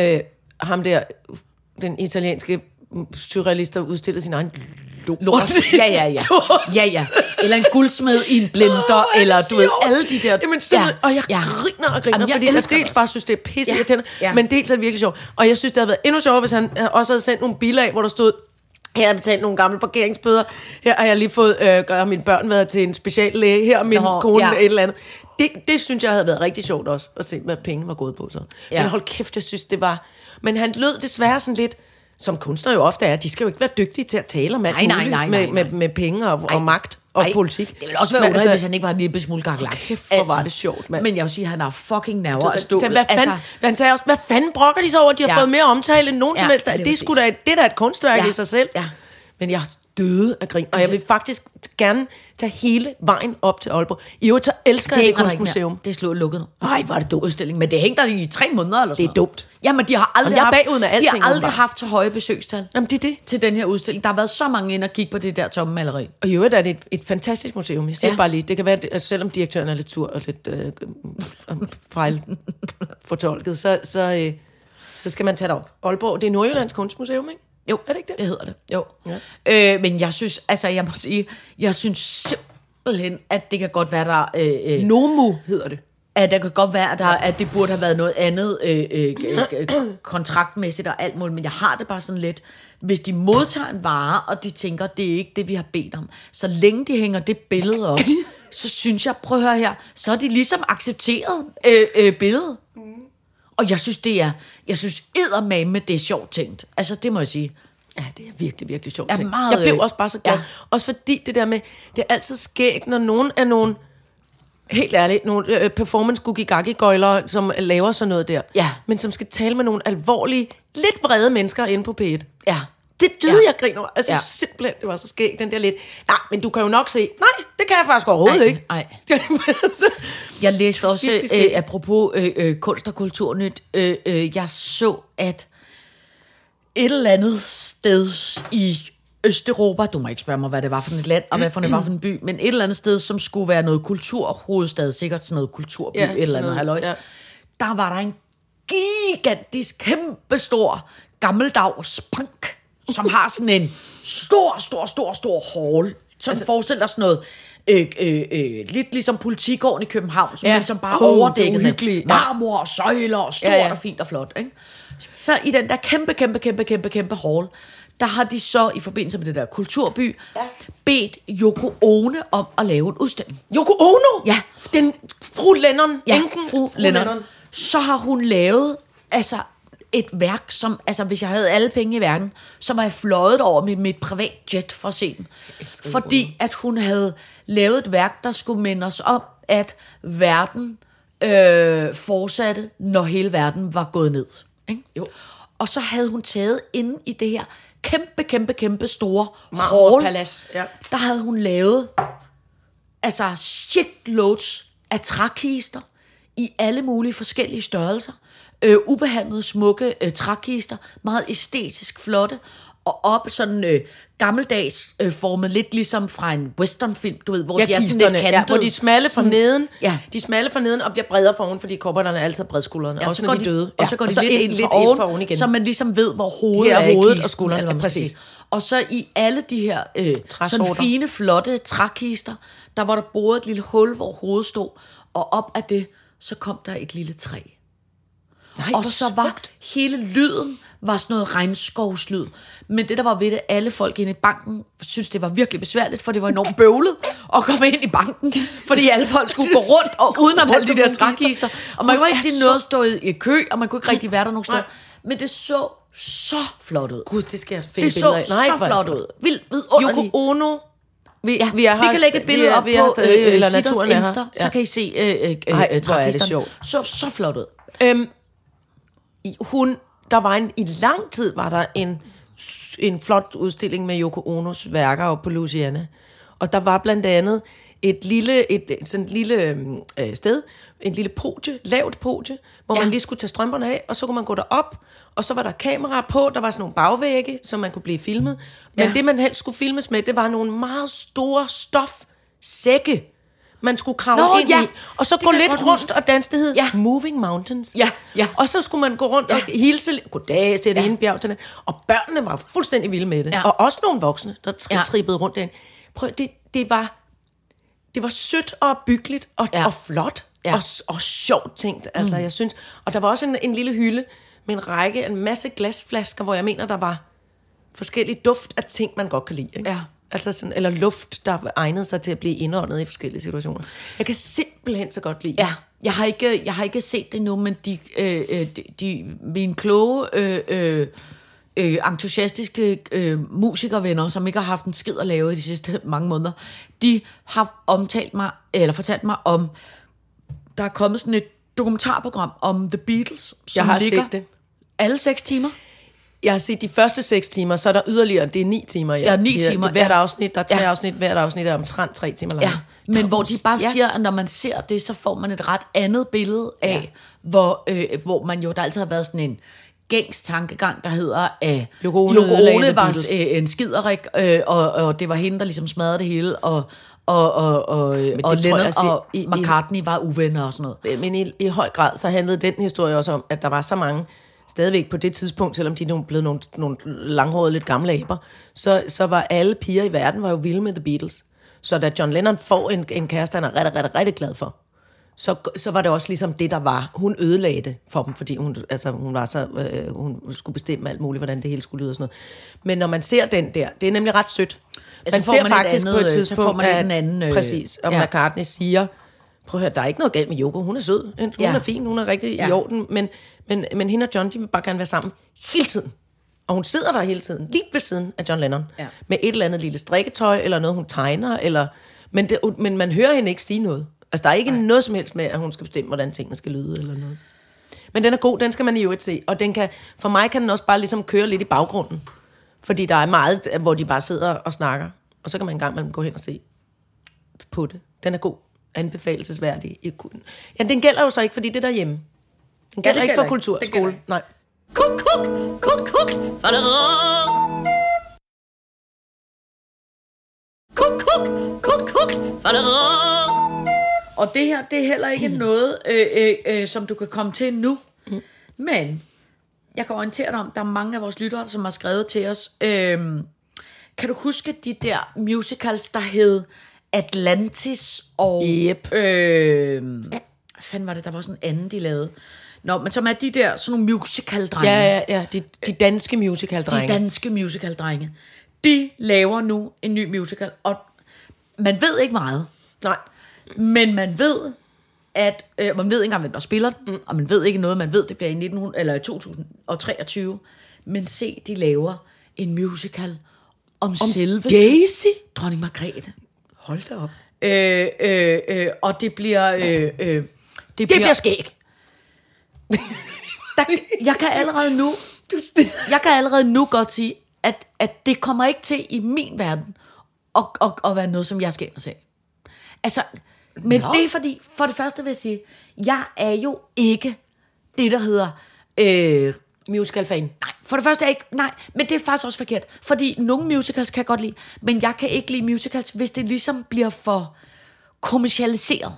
[SPEAKER 3] øh, ham der, den italienske surrealist, der udstillede sin egen lort.
[SPEAKER 4] lort. Ja, ja, ja. Ja, ja. Eller en guldsmed i en blender,
[SPEAKER 3] Åh,
[SPEAKER 4] oh,
[SPEAKER 3] hvor er
[SPEAKER 4] eller
[SPEAKER 3] det
[SPEAKER 4] du ved,
[SPEAKER 3] sjovt.
[SPEAKER 4] alle de der...
[SPEAKER 3] Jamen, sådan ja. og jeg ja. griner og griner,
[SPEAKER 4] Jamen,
[SPEAKER 3] Jamen,
[SPEAKER 4] jeg
[SPEAKER 3] fordi jeg
[SPEAKER 4] elsker det
[SPEAKER 3] dels bare synes, det er pisse ja. irriterende, ja.
[SPEAKER 4] Ja.
[SPEAKER 3] men dels er det virkelig sjovt. Og jeg synes, det havde været endnu sjovere, hvis han øh, også havde sendt nogle bilag, hvor der stod, her har jeg betalt nogle gamle parkeringsbøder, her har jeg lige fået, øh, gør mine børn været til en speciallæge, her har min
[SPEAKER 4] Nå,
[SPEAKER 3] kone
[SPEAKER 4] ja.
[SPEAKER 3] et eller andet. Det, det synes jeg havde været rigtig sjovt også, at se, hvad penge var gået på så. Ja.
[SPEAKER 4] Ja.
[SPEAKER 3] Men hold kæft, jeg synes, det var... Men han lød desværre sådan lidt, som kunstnere jo ofte er, de skal jo ikke være dygtige til at tale om alt
[SPEAKER 4] Nej, nej,
[SPEAKER 3] muligt
[SPEAKER 4] nej, nej,
[SPEAKER 3] med,
[SPEAKER 4] nej.
[SPEAKER 3] Med, med penge og, og magt og
[SPEAKER 4] Ej,
[SPEAKER 3] politik.
[SPEAKER 4] Det ville også være
[SPEAKER 3] Men
[SPEAKER 4] underligt, altså, hvis han ikke var en lille smule gaglaks.
[SPEAKER 3] kæft, hvor var det sjovt, mand.
[SPEAKER 4] Men jeg vil sige, at han har fucking nerver af
[SPEAKER 3] Så
[SPEAKER 4] stål.
[SPEAKER 3] hvad fanden, altså, han sagde også, hvad fanden brokker de så over, at de har ja.
[SPEAKER 4] Ja.
[SPEAKER 3] fået mere omtale end nogen ja,
[SPEAKER 4] Ja,
[SPEAKER 3] som helst.
[SPEAKER 4] lige
[SPEAKER 3] Det er, sgu da,
[SPEAKER 4] præcis.
[SPEAKER 3] et- det er da et kunstværk
[SPEAKER 4] Ja,
[SPEAKER 3] i sig selv.
[SPEAKER 4] ja.
[SPEAKER 3] Men jeg døde af grin, og jeg vil faktisk gerne tage hele vejen op til Aalborg. I øvrigt, så elsker jeg det
[SPEAKER 4] hænger der ikke
[SPEAKER 3] kunstmuseum.
[SPEAKER 4] mere. Det er slået lukket nu.
[SPEAKER 3] Nej, hvor er det dumt.
[SPEAKER 4] Udstilling, men det hængte der i tre måneder eller sådan
[SPEAKER 3] Det er dumt.
[SPEAKER 4] noget. Jamen, de har aldrig,
[SPEAKER 3] jeg er
[SPEAKER 4] haft,
[SPEAKER 3] bagud med
[SPEAKER 4] de
[SPEAKER 3] alting,
[SPEAKER 4] har aldrig
[SPEAKER 3] åbenbart.
[SPEAKER 4] haft så høje besøgstal
[SPEAKER 3] Jamen, det er det.
[SPEAKER 4] til den her udstilling. Der har været så mange ind og kigge på det der tomme maleri.
[SPEAKER 3] Og i øvrigt er det et, et fantastisk museum. Jeg siger ja.
[SPEAKER 4] Ja.
[SPEAKER 3] bare lige, det kan være, at altså, selvom direktøren er lidt sur og lidt øh, øh, fejlfortolket, så, så, øh, så skal man tage det op. Aalborg, det er Nordjyllands Kunstmuseum, ikke?
[SPEAKER 4] Jo,
[SPEAKER 3] Er det ikke det?
[SPEAKER 4] Det hedder det, jo. Ja. Øh, men jeg synes, altså jeg må sige, jeg synes simpelthen, at det kan godt være, der, øh, øh,
[SPEAKER 3] Nomu hedder det.
[SPEAKER 4] at der kan godt være, at, der, at det burde have været noget andet øh, øh, øh, kontraktmæssigt og alt muligt, men jeg har det bare sådan lidt, hvis de modtager en vare, og de tænker, det er ikke det, vi har bedt om, så længe de hænger det billede op, så synes jeg, prøv at høre her, så er de ligesom accepteret øh, øh, billedet.
[SPEAKER 3] Mm.
[SPEAKER 4] Og jeg synes, det er, jeg synes eddermame, det er sjovt tænkt. Altså, det må jeg sige.
[SPEAKER 3] Ja, det er virkelig, virkelig sjovt.
[SPEAKER 4] Er
[SPEAKER 3] ting.
[SPEAKER 4] meget,
[SPEAKER 3] jeg blev
[SPEAKER 4] øh,
[SPEAKER 3] også bare så glad. Ja.
[SPEAKER 4] ja.
[SPEAKER 3] Også fordi det der med, det er altid skægt, når nogen er nogen, helt ærligt, nogle øh, performance googie gaggy gøjler som laver sådan noget der.
[SPEAKER 4] Ja.
[SPEAKER 3] Men som skal tale med nogle alvorlige, lidt vrede mennesker inde på P1.
[SPEAKER 4] Ja.
[SPEAKER 3] Det døde ja.
[SPEAKER 4] Ja.
[SPEAKER 3] jeg griner over. Altså ja.
[SPEAKER 4] Ja.
[SPEAKER 3] simpelthen, det var så skægt, den der lidt. Nej, men du kan jo nok se. Nej, det kan jeg faktisk overhovedet
[SPEAKER 4] Ej,
[SPEAKER 3] ikke.
[SPEAKER 4] ej.
[SPEAKER 3] Så-
[SPEAKER 4] Jeg læste også,
[SPEAKER 3] Virkelig
[SPEAKER 4] øh,
[SPEAKER 3] skægt.
[SPEAKER 4] apropos øh, øh, kunst og kulturnyt, øh, øh, jeg så, at et eller andet sted i Østeuropa, du må ikke spørge mig, hvad det var for et land, og hvad for det var for en by, men et eller andet sted, som skulle være noget kulturhovedstad, sikkert sådan noget kulturby,
[SPEAKER 3] Ja,
[SPEAKER 4] ja, et eller
[SPEAKER 3] sådan
[SPEAKER 4] andet
[SPEAKER 3] noget,
[SPEAKER 4] halløj,
[SPEAKER 3] ja.
[SPEAKER 4] ja. der var der en gigantisk, kæmpestor, gammeldags bank, som har sådan en stor, stor, stor, stor hall, Sådan altså, forestil dig sådan noget, øh, øh, øh, lidt ligesom politigården i København, som,
[SPEAKER 3] Ja.
[SPEAKER 4] ja. som bare
[SPEAKER 3] Åh,
[SPEAKER 4] oh,
[SPEAKER 3] det er
[SPEAKER 4] overdækket med
[SPEAKER 3] uhyggeligt. Ja.
[SPEAKER 4] marmor og søjler og stort
[SPEAKER 3] Ja,
[SPEAKER 4] ja,
[SPEAKER 3] ja.
[SPEAKER 4] ja. og fint og flot. Ikke? Så i den der kæmpe, kæmpe, kæmpe, kæmpe, kæmpe hall, der har de så i forbindelse med det der kulturby, ja. bedt Yoko Ono om at lave en udstilling.
[SPEAKER 3] Yoko Ono?
[SPEAKER 4] Ja.
[SPEAKER 3] Den fru Lennon.
[SPEAKER 4] Ja,
[SPEAKER 3] enken,
[SPEAKER 4] fru Lennon. Lennon. Så har hun lavet altså et værk, som, altså hvis jeg havde alle penge i verden, så var jeg fløjet over med mit privat jet fra scenen. Fordi at hun havde lavet et værk, der skulle minde os om, at verden øh, fortsatte, når hele verden var gået ned. Ikke?
[SPEAKER 3] Jo.
[SPEAKER 4] Og så havde hun taget inde i det her kæmpe, kæmpe, kæmpe store
[SPEAKER 3] Marmorpalads,
[SPEAKER 4] hall,
[SPEAKER 3] ja.
[SPEAKER 4] der havde hun lavet altså shitloads af trækister i alle mulige forskellige størrelser. Øh, ubehandlede, smukke øh, trækister, meget æstetisk flotte, og op sådan øh, gammeldags øh, formet, lidt ligesom fra en westernfilm, du ved, hvor
[SPEAKER 3] Ja,
[SPEAKER 4] de er sådan
[SPEAKER 3] kisterne,
[SPEAKER 4] lidt
[SPEAKER 3] ja,
[SPEAKER 4] kantet.
[SPEAKER 3] hvor de er smalle for
[SPEAKER 4] Sådan-
[SPEAKER 3] neden,
[SPEAKER 4] Ja.
[SPEAKER 3] de er smalle for neden og bliver bredere for oven, fordi kobberterne er altid bredskuldrene, ja,
[SPEAKER 4] Ja,
[SPEAKER 3] også
[SPEAKER 4] så
[SPEAKER 3] når
[SPEAKER 4] går
[SPEAKER 3] de er døde.
[SPEAKER 4] Og så går de lidt, ind, lidt oven, for oven igen. Så man ligesom ved, hvor hovedet
[SPEAKER 3] Her er
[SPEAKER 4] er i
[SPEAKER 3] hovedet og
[SPEAKER 4] kisten,
[SPEAKER 3] skulderen,
[SPEAKER 4] eller hvad man skal
[SPEAKER 3] præcis.
[SPEAKER 4] sige. Og så i alle de her øh,
[SPEAKER 3] Træsorter.
[SPEAKER 4] sådan fine, flotte trækister, der var der boret et lille hul, hvor hovedet stod, og op af det, så kom der et lille træ.
[SPEAKER 3] Nej,
[SPEAKER 4] og så var hele lyden var sådan noget regnskovslyd. Men det, der var ved det, alle folk inde i banken synes det var virkelig besværligt, for det var enormt bøvlet at komme ind i banken, fordi alle folk skulle gå rundt og uden om alle de der trækister. Og man kunne ikke rigtig noget stå i i kø, og man kunne ikke rigtig være der nogen steder. Men det så så flot ud.
[SPEAKER 3] Gud, det skal jeg finde
[SPEAKER 4] Det så
[SPEAKER 3] billeder af.
[SPEAKER 4] Nej,
[SPEAKER 3] hvor
[SPEAKER 4] så
[SPEAKER 3] er det
[SPEAKER 4] flot ud. Vildt vidunderligt.
[SPEAKER 3] Yoko Ono. Vi,
[SPEAKER 4] Ja,
[SPEAKER 3] vi, er
[SPEAKER 4] vi kan lægge et billede op på øh, øh, Sitters Insta,
[SPEAKER 3] Ja.
[SPEAKER 4] så kan I se øh, øh, øh,
[SPEAKER 3] Ej, hvor er det
[SPEAKER 4] trækisterne.
[SPEAKER 3] sjovt.
[SPEAKER 4] Så, så flot ud.
[SPEAKER 3] Øhm, i- hun, der var en, i lang tid var der en, s- en flot udstilling med Yoko Onos værker op på Louisiana. Og der var blandt andet et lille, et, et sådan et lille øhm, øh, sted, en lille podie, lavt podie, hvor ja.
[SPEAKER 4] Ja.
[SPEAKER 3] man lige skulle tage strømperne af, og så kunne man gå derop, og så var der kameraer på, der var sådan nogle bagvægge, som man kunne blive filmet. Men ja.
[SPEAKER 4] Ja.
[SPEAKER 3] det, man helst skulle filmes med, det var nogle meget store stofsække, man skulle kravle
[SPEAKER 4] Nå,
[SPEAKER 3] ind
[SPEAKER 4] ja.
[SPEAKER 3] i, og så
[SPEAKER 4] Det
[SPEAKER 3] gå
[SPEAKER 4] kan jeg
[SPEAKER 3] lidt
[SPEAKER 4] godt
[SPEAKER 3] rundt, og danse, det hed
[SPEAKER 4] Ja.
[SPEAKER 3] Moving Mountains.
[SPEAKER 4] Ja, ja.
[SPEAKER 3] Og så skulle man gå rundt ja. og hilse. Goddag, det er det ja. ene bjerg til det. Og børnene var fuldstændig vilde med det. Ja.
[SPEAKER 4] Ja.
[SPEAKER 3] Og også nogle voksne, der tri- ja.
[SPEAKER 4] Ja.
[SPEAKER 3] trippede rundt derinde. Prøv, det, det var... Det var sødt og byggeligt og, ja.
[SPEAKER 4] Ja.
[SPEAKER 3] og flot ja.
[SPEAKER 4] Ja. Mm.
[SPEAKER 3] og, s- og sjovt tænkt, altså jeg synes. Og der var også en, en lille hylde med en række, en masse glasflasker, hvor jeg mener, der var forskellige duft af ting, man godt kan lide. Ikke?
[SPEAKER 4] Ja.
[SPEAKER 3] Altså sådan, eller luft, der egnede sig til at blive indåndet i forskellige situationer. Jeg kan simpelthen så godt lide.
[SPEAKER 4] Ja, jeg har ikke, jeg har ikke set det nu, men de, øh, øh, de, de mine kloge, øh, øh, øh, entusiastiske øh, musikervenner, som ikke har haft en skid at lave i de sidste mange måneder, de har omtalt mig, eller fortalt mig om, der er kommet sådan et dokumentarprogram om The Beatles, som
[SPEAKER 3] Jeg har set
[SPEAKER 4] ligger
[SPEAKER 3] det.
[SPEAKER 4] alle seks timer.
[SPEAKER 3] Jeg har set de første seks timer, så er der yderligere, det er ni timer.
[SPEAKER 4] Ja, ni
[SPEAKER 3] Det er-
[SPEAKER 4] timer,
[SPEAKER 3] det er Hvert
[SPEAKER 4] ja.
[SPEAKER 3] afsnit, der er tre
[SPEAKER 4] Ja.
[SPEAKER 3] afsnit, hvert afsnit er omtrent tre timer langt.
[SPEAKER 4] Ja, men hvor de bare
[SPEAKER 3] ja.
[SPEAKER 4] ja. siger, at når man ser det, så får man et ret andet billede af, ja. hvor, øh, hvor man jo, der altid har været sådan en gængs tankegang, der hedder, at
[SPEAKER 3] Yoko Ono
[SPEAKER 4] Yoko
[SPEAKER 3] ødelagde The
[SPEAKER 4] Ono var
[SPEAKER 3] Beatles.
[SPEAKER 4] øh, en skiderik, øh, og, og det var hende, der ligesom smadrede det hele, og, og, og, og, øh, og
[SPEAKER 3] tror jeg
[SPEAKER 4] Lennon
[SPEAKER 3] altså
[SPEAKER 4] og
[SPEAKER 3] i- i-
[SPEAKER 4] McCartney var uvenner og sådan noget.
[SPEAKER 3] Men i, i høj grad, så handlede den historie også om, at der var så mange stadigvæk på det tidspunkt, selvom de nu blev nogle, nogle langhårede, lidt gamle aber, så, så var alle piger i verden var jo vilde med The Beatles. Så da John Lennon får en, en kæreste, han er rigtig, rigtig, rigtig glad for, så, så var det også ligesom det, der var. Hun ødelagde det for dem, fordi hun, altså, hun, var så, øh, hun skulle bestemme alt muligt, hvordan det hele skulle lyde og sådan noget. Men når man ser den der, det er nemlig ret sødt.
[SPEAKER 4] Altså, så får man et andet, øh, så får man lidt
[SPEAKER 3] at-
[SPEAKER 4] en anden, øh,
[SPEAKER 3] præcis, og ja.
[SPEAKER 4] ja.
[SPEAKER 3] McCartney siger, prøv at høre, der er ikke noget galt med Yoko, hun er sød, hun ja.
[SPEAKER 4] Ja.
[SPEAKER 3] er fin, hun er rigtig ja. i
[SPEAKER 4] Ja.
[SPEAKER 3] orden, men, men, men hende og John, de vil bare gerne være sammen hele tiden. Og hun sidder der hele tiden, lige ved siden af John Lennon,
[SPEAKER 4] Ja.
[SPEAKER 3] med et eller andet lille strikketøj, eller noget, hun tegner, eller, men, det, men man hører hende ikke sige noget. Altså, der er ikke Nej. noget som helst med, at hun skal bestemme, hvordan tingene skal lyde, eller noget. Men den er god, den skal man i øvrigt se, og den kan, for mig kan den også bare ligesom køre lidt i baggrunden. Fordi der er meget, hvor de bare sidder og snakker, og så kan man en gang imellem gå hen og se på det. Den er god, anbefalesværdig. I kun- Ja, den gælder jo så ikke, fordi det er derhjemme. Den gælder, ja, ikke
[SPEAKER 4] gælder
[SPEAKER 3] for
[SPEAKER 4] ikke. Den gælder
[SPEAKER 3] kulturskole.
[SPEAKER 4] ikke.
[SPEAKER 3] Nej.
[SPEAKER 2] Kuk, kuk, kuk, kuk. Fadadadam. Kuk, kuk, kuk, kuk. Fadadadam.
[SPEAKER 4] Og det her, det er heller ikke noget, øh, øh, øh, som du kan komme til nu. Mm. Men jeg kan orientere dig om, der er mange af vores lyttere, som har skrevet til os. Øh, Kan du huske de der musicals, der hed Atlantis og...
[SPEAKER 3] Yep.
[SPEAKER 4] Øh, hvad fanden var det? Der var sådan en anden, de lavede. Nå, men som er de der sådan nogle musical-drenge.
[SPEAKER 3] Ja, ja, ja. De, de danske musical-drenge.
[SPEAKER 4] Øh, De danske musical-drenge. De laver nu en ny musical, og man ved ikke meget.
[SPEAKER 3] Nej.
[SPEAKER 4] Men man ved, at øh, man ved ikke engang, hvem der spiller den, mm. og man ved ikke noget. Man ved, det bliver i 1900, eller i 2023. Men se, de laver en musical om, om selve
[SPEAKER 3] Daisy?
[SPEAKER 4] dronning Margrethe.
[SPEAKER 3] Hold da op.
[SPEAKER 4] Øh, øh, øh, og det bliver... Øh, øh, det
[SPEAKER 3] Det bliver skæg.
[SPEAKER 4] der, jeg kan allerede nu, jeg kan allerede nu godt sige, at, at det kommer ikke til i min verden at, at, at være noget, som jeg skal ind og se. Altså, men Nå. det er fordi, for det første vil jeg sige, jeg er jo ikke det, der hedder... Øh,
[SPEAKER 3] Musical-fan.
[SPEAKER 4] nej, for det første er jeg ikke... Nej, men det er faktisk også forkert. Fordi nogle musicals kan jeg godt lide, men jeg kan ikke lide musicals, hvis det ligesom bliver for kommercialiseret.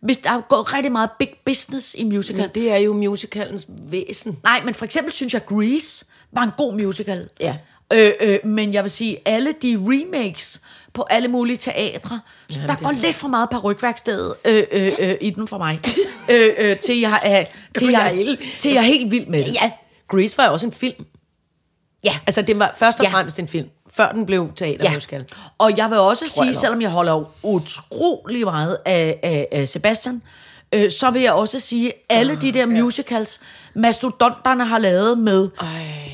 [SPEAKER 4] Hvis der går rigtig meget big business i musical.
[SPEAKER 3] Men det er jo musicalens væsen.
[SPEAKER 4] Nej, men for eksempel synes jeg, Grease var en god musical.
[SPEAKER 3] Ja.
[SPEAKER 4] Øh, øh, men jeg vil sige, alle de remakes på alle mulige teatre, ja, der går lidt for meget parrykværkstedet øh, øh, øh, i den for mig, øh, øh, til, jeg, er, til,
[SPEAKER 3] jeg er
[SPEAKER 4] jeg,
[SPEAKER 3] helt-
[SPEAKER 4] til jeg er helt vild med det.
[SPEAKER 3] Ja. Grease var jo også en film.
[SPEAKER 4] Ja.
[SPEAKER 3] Altså, det var først og
[SPEAKER 4] Ja.
[SPEAKER 3] ja. fremmest en film, før den blev teatermusical. Ja.
[SPEAKER 4] Og jeg vil også sige,
[SPEAKER 3] jeg nok.
[SPEAKER 4] selvom jeg holder utrolig meget af, af, af Sebastian, øh, så vil jeg også sige, alle
[SPEAKER 3] Ah,
[SPEAKER 4] de der musicals, mastodonterne har lavet med Ej.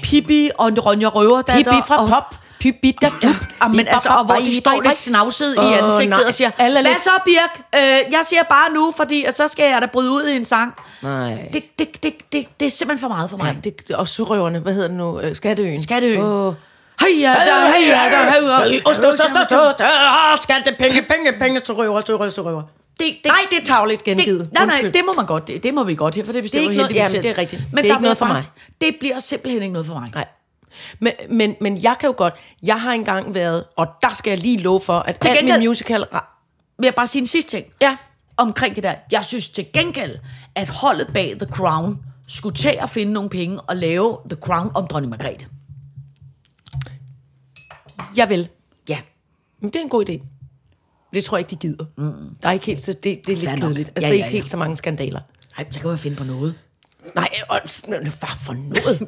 [SPEAKER 4] Pippi og Ronja Røverdatter.
[SPEAKER 3] Pippi fra
[SPEAKER 4] og,
[SPEAKER 3] Pop. Pippi da du.
[SPEAKER 4] Ja, men altså, og hvor de står lidt snavset i
[SPEAKER 3] Åh,
[SPEAKER 4] ansigtet
[SPEAKER 3] nej.
[SPEAKER 4] og siger,
[SPEAKER 3] Alle er
[SPEAKER 4] hvad
[SPEAKER 3] lidt-
[SPEAKER 4] så Birk? Øh, jeg siger bare nu, fordi og så skal jeg da bryde ud i en sang.
[SPEAKER 3] Nej.
[SPEAKER 4] Det, det, det, det, det er simpelthen for meget for mig.
[SPEAKER 3] Nej, det, og sørøverne, hvad hedder den nu? Øh, Skatteøen.
[SPEAKER 4] Skatteøen.
[SPEAKER 3] Åh.
[SPEAKER 4] Heja, der, heja, der, heja.
[SPEAKER 3] Ost, ost, ost, ost, ost. Åh, Skatte, penge, penge, penge, sørøver, sørøver, sørøver.
[SPEAKER 4] Det, det, nej, det er tavligt
[SPEAKER 3] gengivet.
[SPEAKER 4] Det, nej, nej,
[SPEAKER 3] Undskyld.
[SPEAKER 4] det må man godt. Det, det må vi godt her, for det bestemmer
[SPEAKER 3] ikke noget-
[SPEAKER 4] heldigvis
[SPEAKER 3] jamen,
[SPEAKER 4] selv.
[SPEAKER 3] det er rigtigt.
[SPEAKER 4] Men
[SPEAKER 3] Det er
[SPEAKER 4] der
[SPEAKER 3] ikke noget
[SPEAKER 4] vil jeg
[SPEAKER 3] for
[SPEAKER 4] bare sige, Det bliver simpelthen ikke noget for mig.
[SPEAKER 3] Nej. Men, men, men jeg kan jo godt, jeg har engang været, og der skal jeg lige love for, at alt min
[SPEAKER 4] gengæld-
[SPEAKER 3] musical...
[SPEAKER 4] Vil jeg bare sige en sidste ting?
[SPEAKER 3] Ja.
[SPEAKER 4] Omkring det der. Jeg synes til gengæld, at holdet bag The Crown skulle tage at finde nogle penge og lave The Crown om dronning Margrethe.
[SPEAKER 3] Jeg vil.
[SPEAKER 4] Ja.
[SPEAKER 3] Men det er en god idé. Det tror jeg ikke, de gider. Mm. Der er ikke helt, så det, det er
[SPEAKER 4] Fair
[SPEAKER 3] lidt
[SPEAKER 4] nok.
[SPEAKER 3] kedeligt. Altså,
[SPEAKER 4] Ja,
[SPEAKER 3] ja, det er ikke
[SPEAKER 4] ja,
[SPEAKER 3] ja,
[SPEAKER 4] ja.
[SPEAKER 3] helt så mange skandaler.
[SPEAKER 4] Nej, så kan man finde på noget.
[SPEAKER 3] Nej, og, hvad for noget?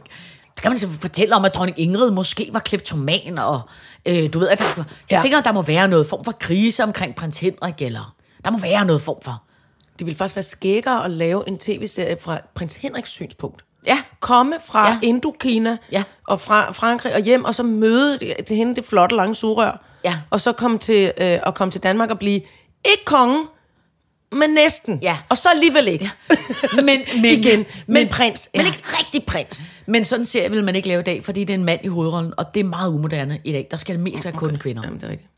[SPEAKER 4] Så kan man så fortælle om, at dronning Ingrid måske var kleptoman, og øh, du ved, at der, jeg ja.
[SPEAKER 3] Ja.
[SPEAKER 4] tænker, at der må være noget form for krise omkring prins Henrik, eller der må være noget form for.
[SPEAKER 3] Det ville faktisk være skækkere at lave en tv-serie fra prins Henriks synspunkt.
[SPEAKER 4] Ja.
[SPEAKER 3] Komme fra
[SPEAKER 4] Ja.
[SPEAKER 3] ja. Indokina
[SPEAKER 4] Ja.
[SPEAKER 3] og fra Frankrig og hjem, og så møde det, det, hende, det flotte lange surør.
[SPEAKER 4] Ja.
[SPEAKER 3] Og så komme til, øh, og komme til Danmark og blive ikke konge, men næsten.
[SPEAKER 4] Ja.
[SPEAKER 3] Og så alligevel ikke. Ja.
[SPEAKER 4] Men, men,
[SPEAKER 3] Igen. Men, men
[SPEAKER 4] men,
[SPEAKER 3] prins.
[SPEAKER 4] men ikke rigtig prins. Men sådan ser vil man ikke lave i dag, fordi det er en mand i hovedrollen, og det er meget umoderne i dag. Der skal det mest være kun kvinder.
[SPEAKER 3] Jamen, det er rigtigt.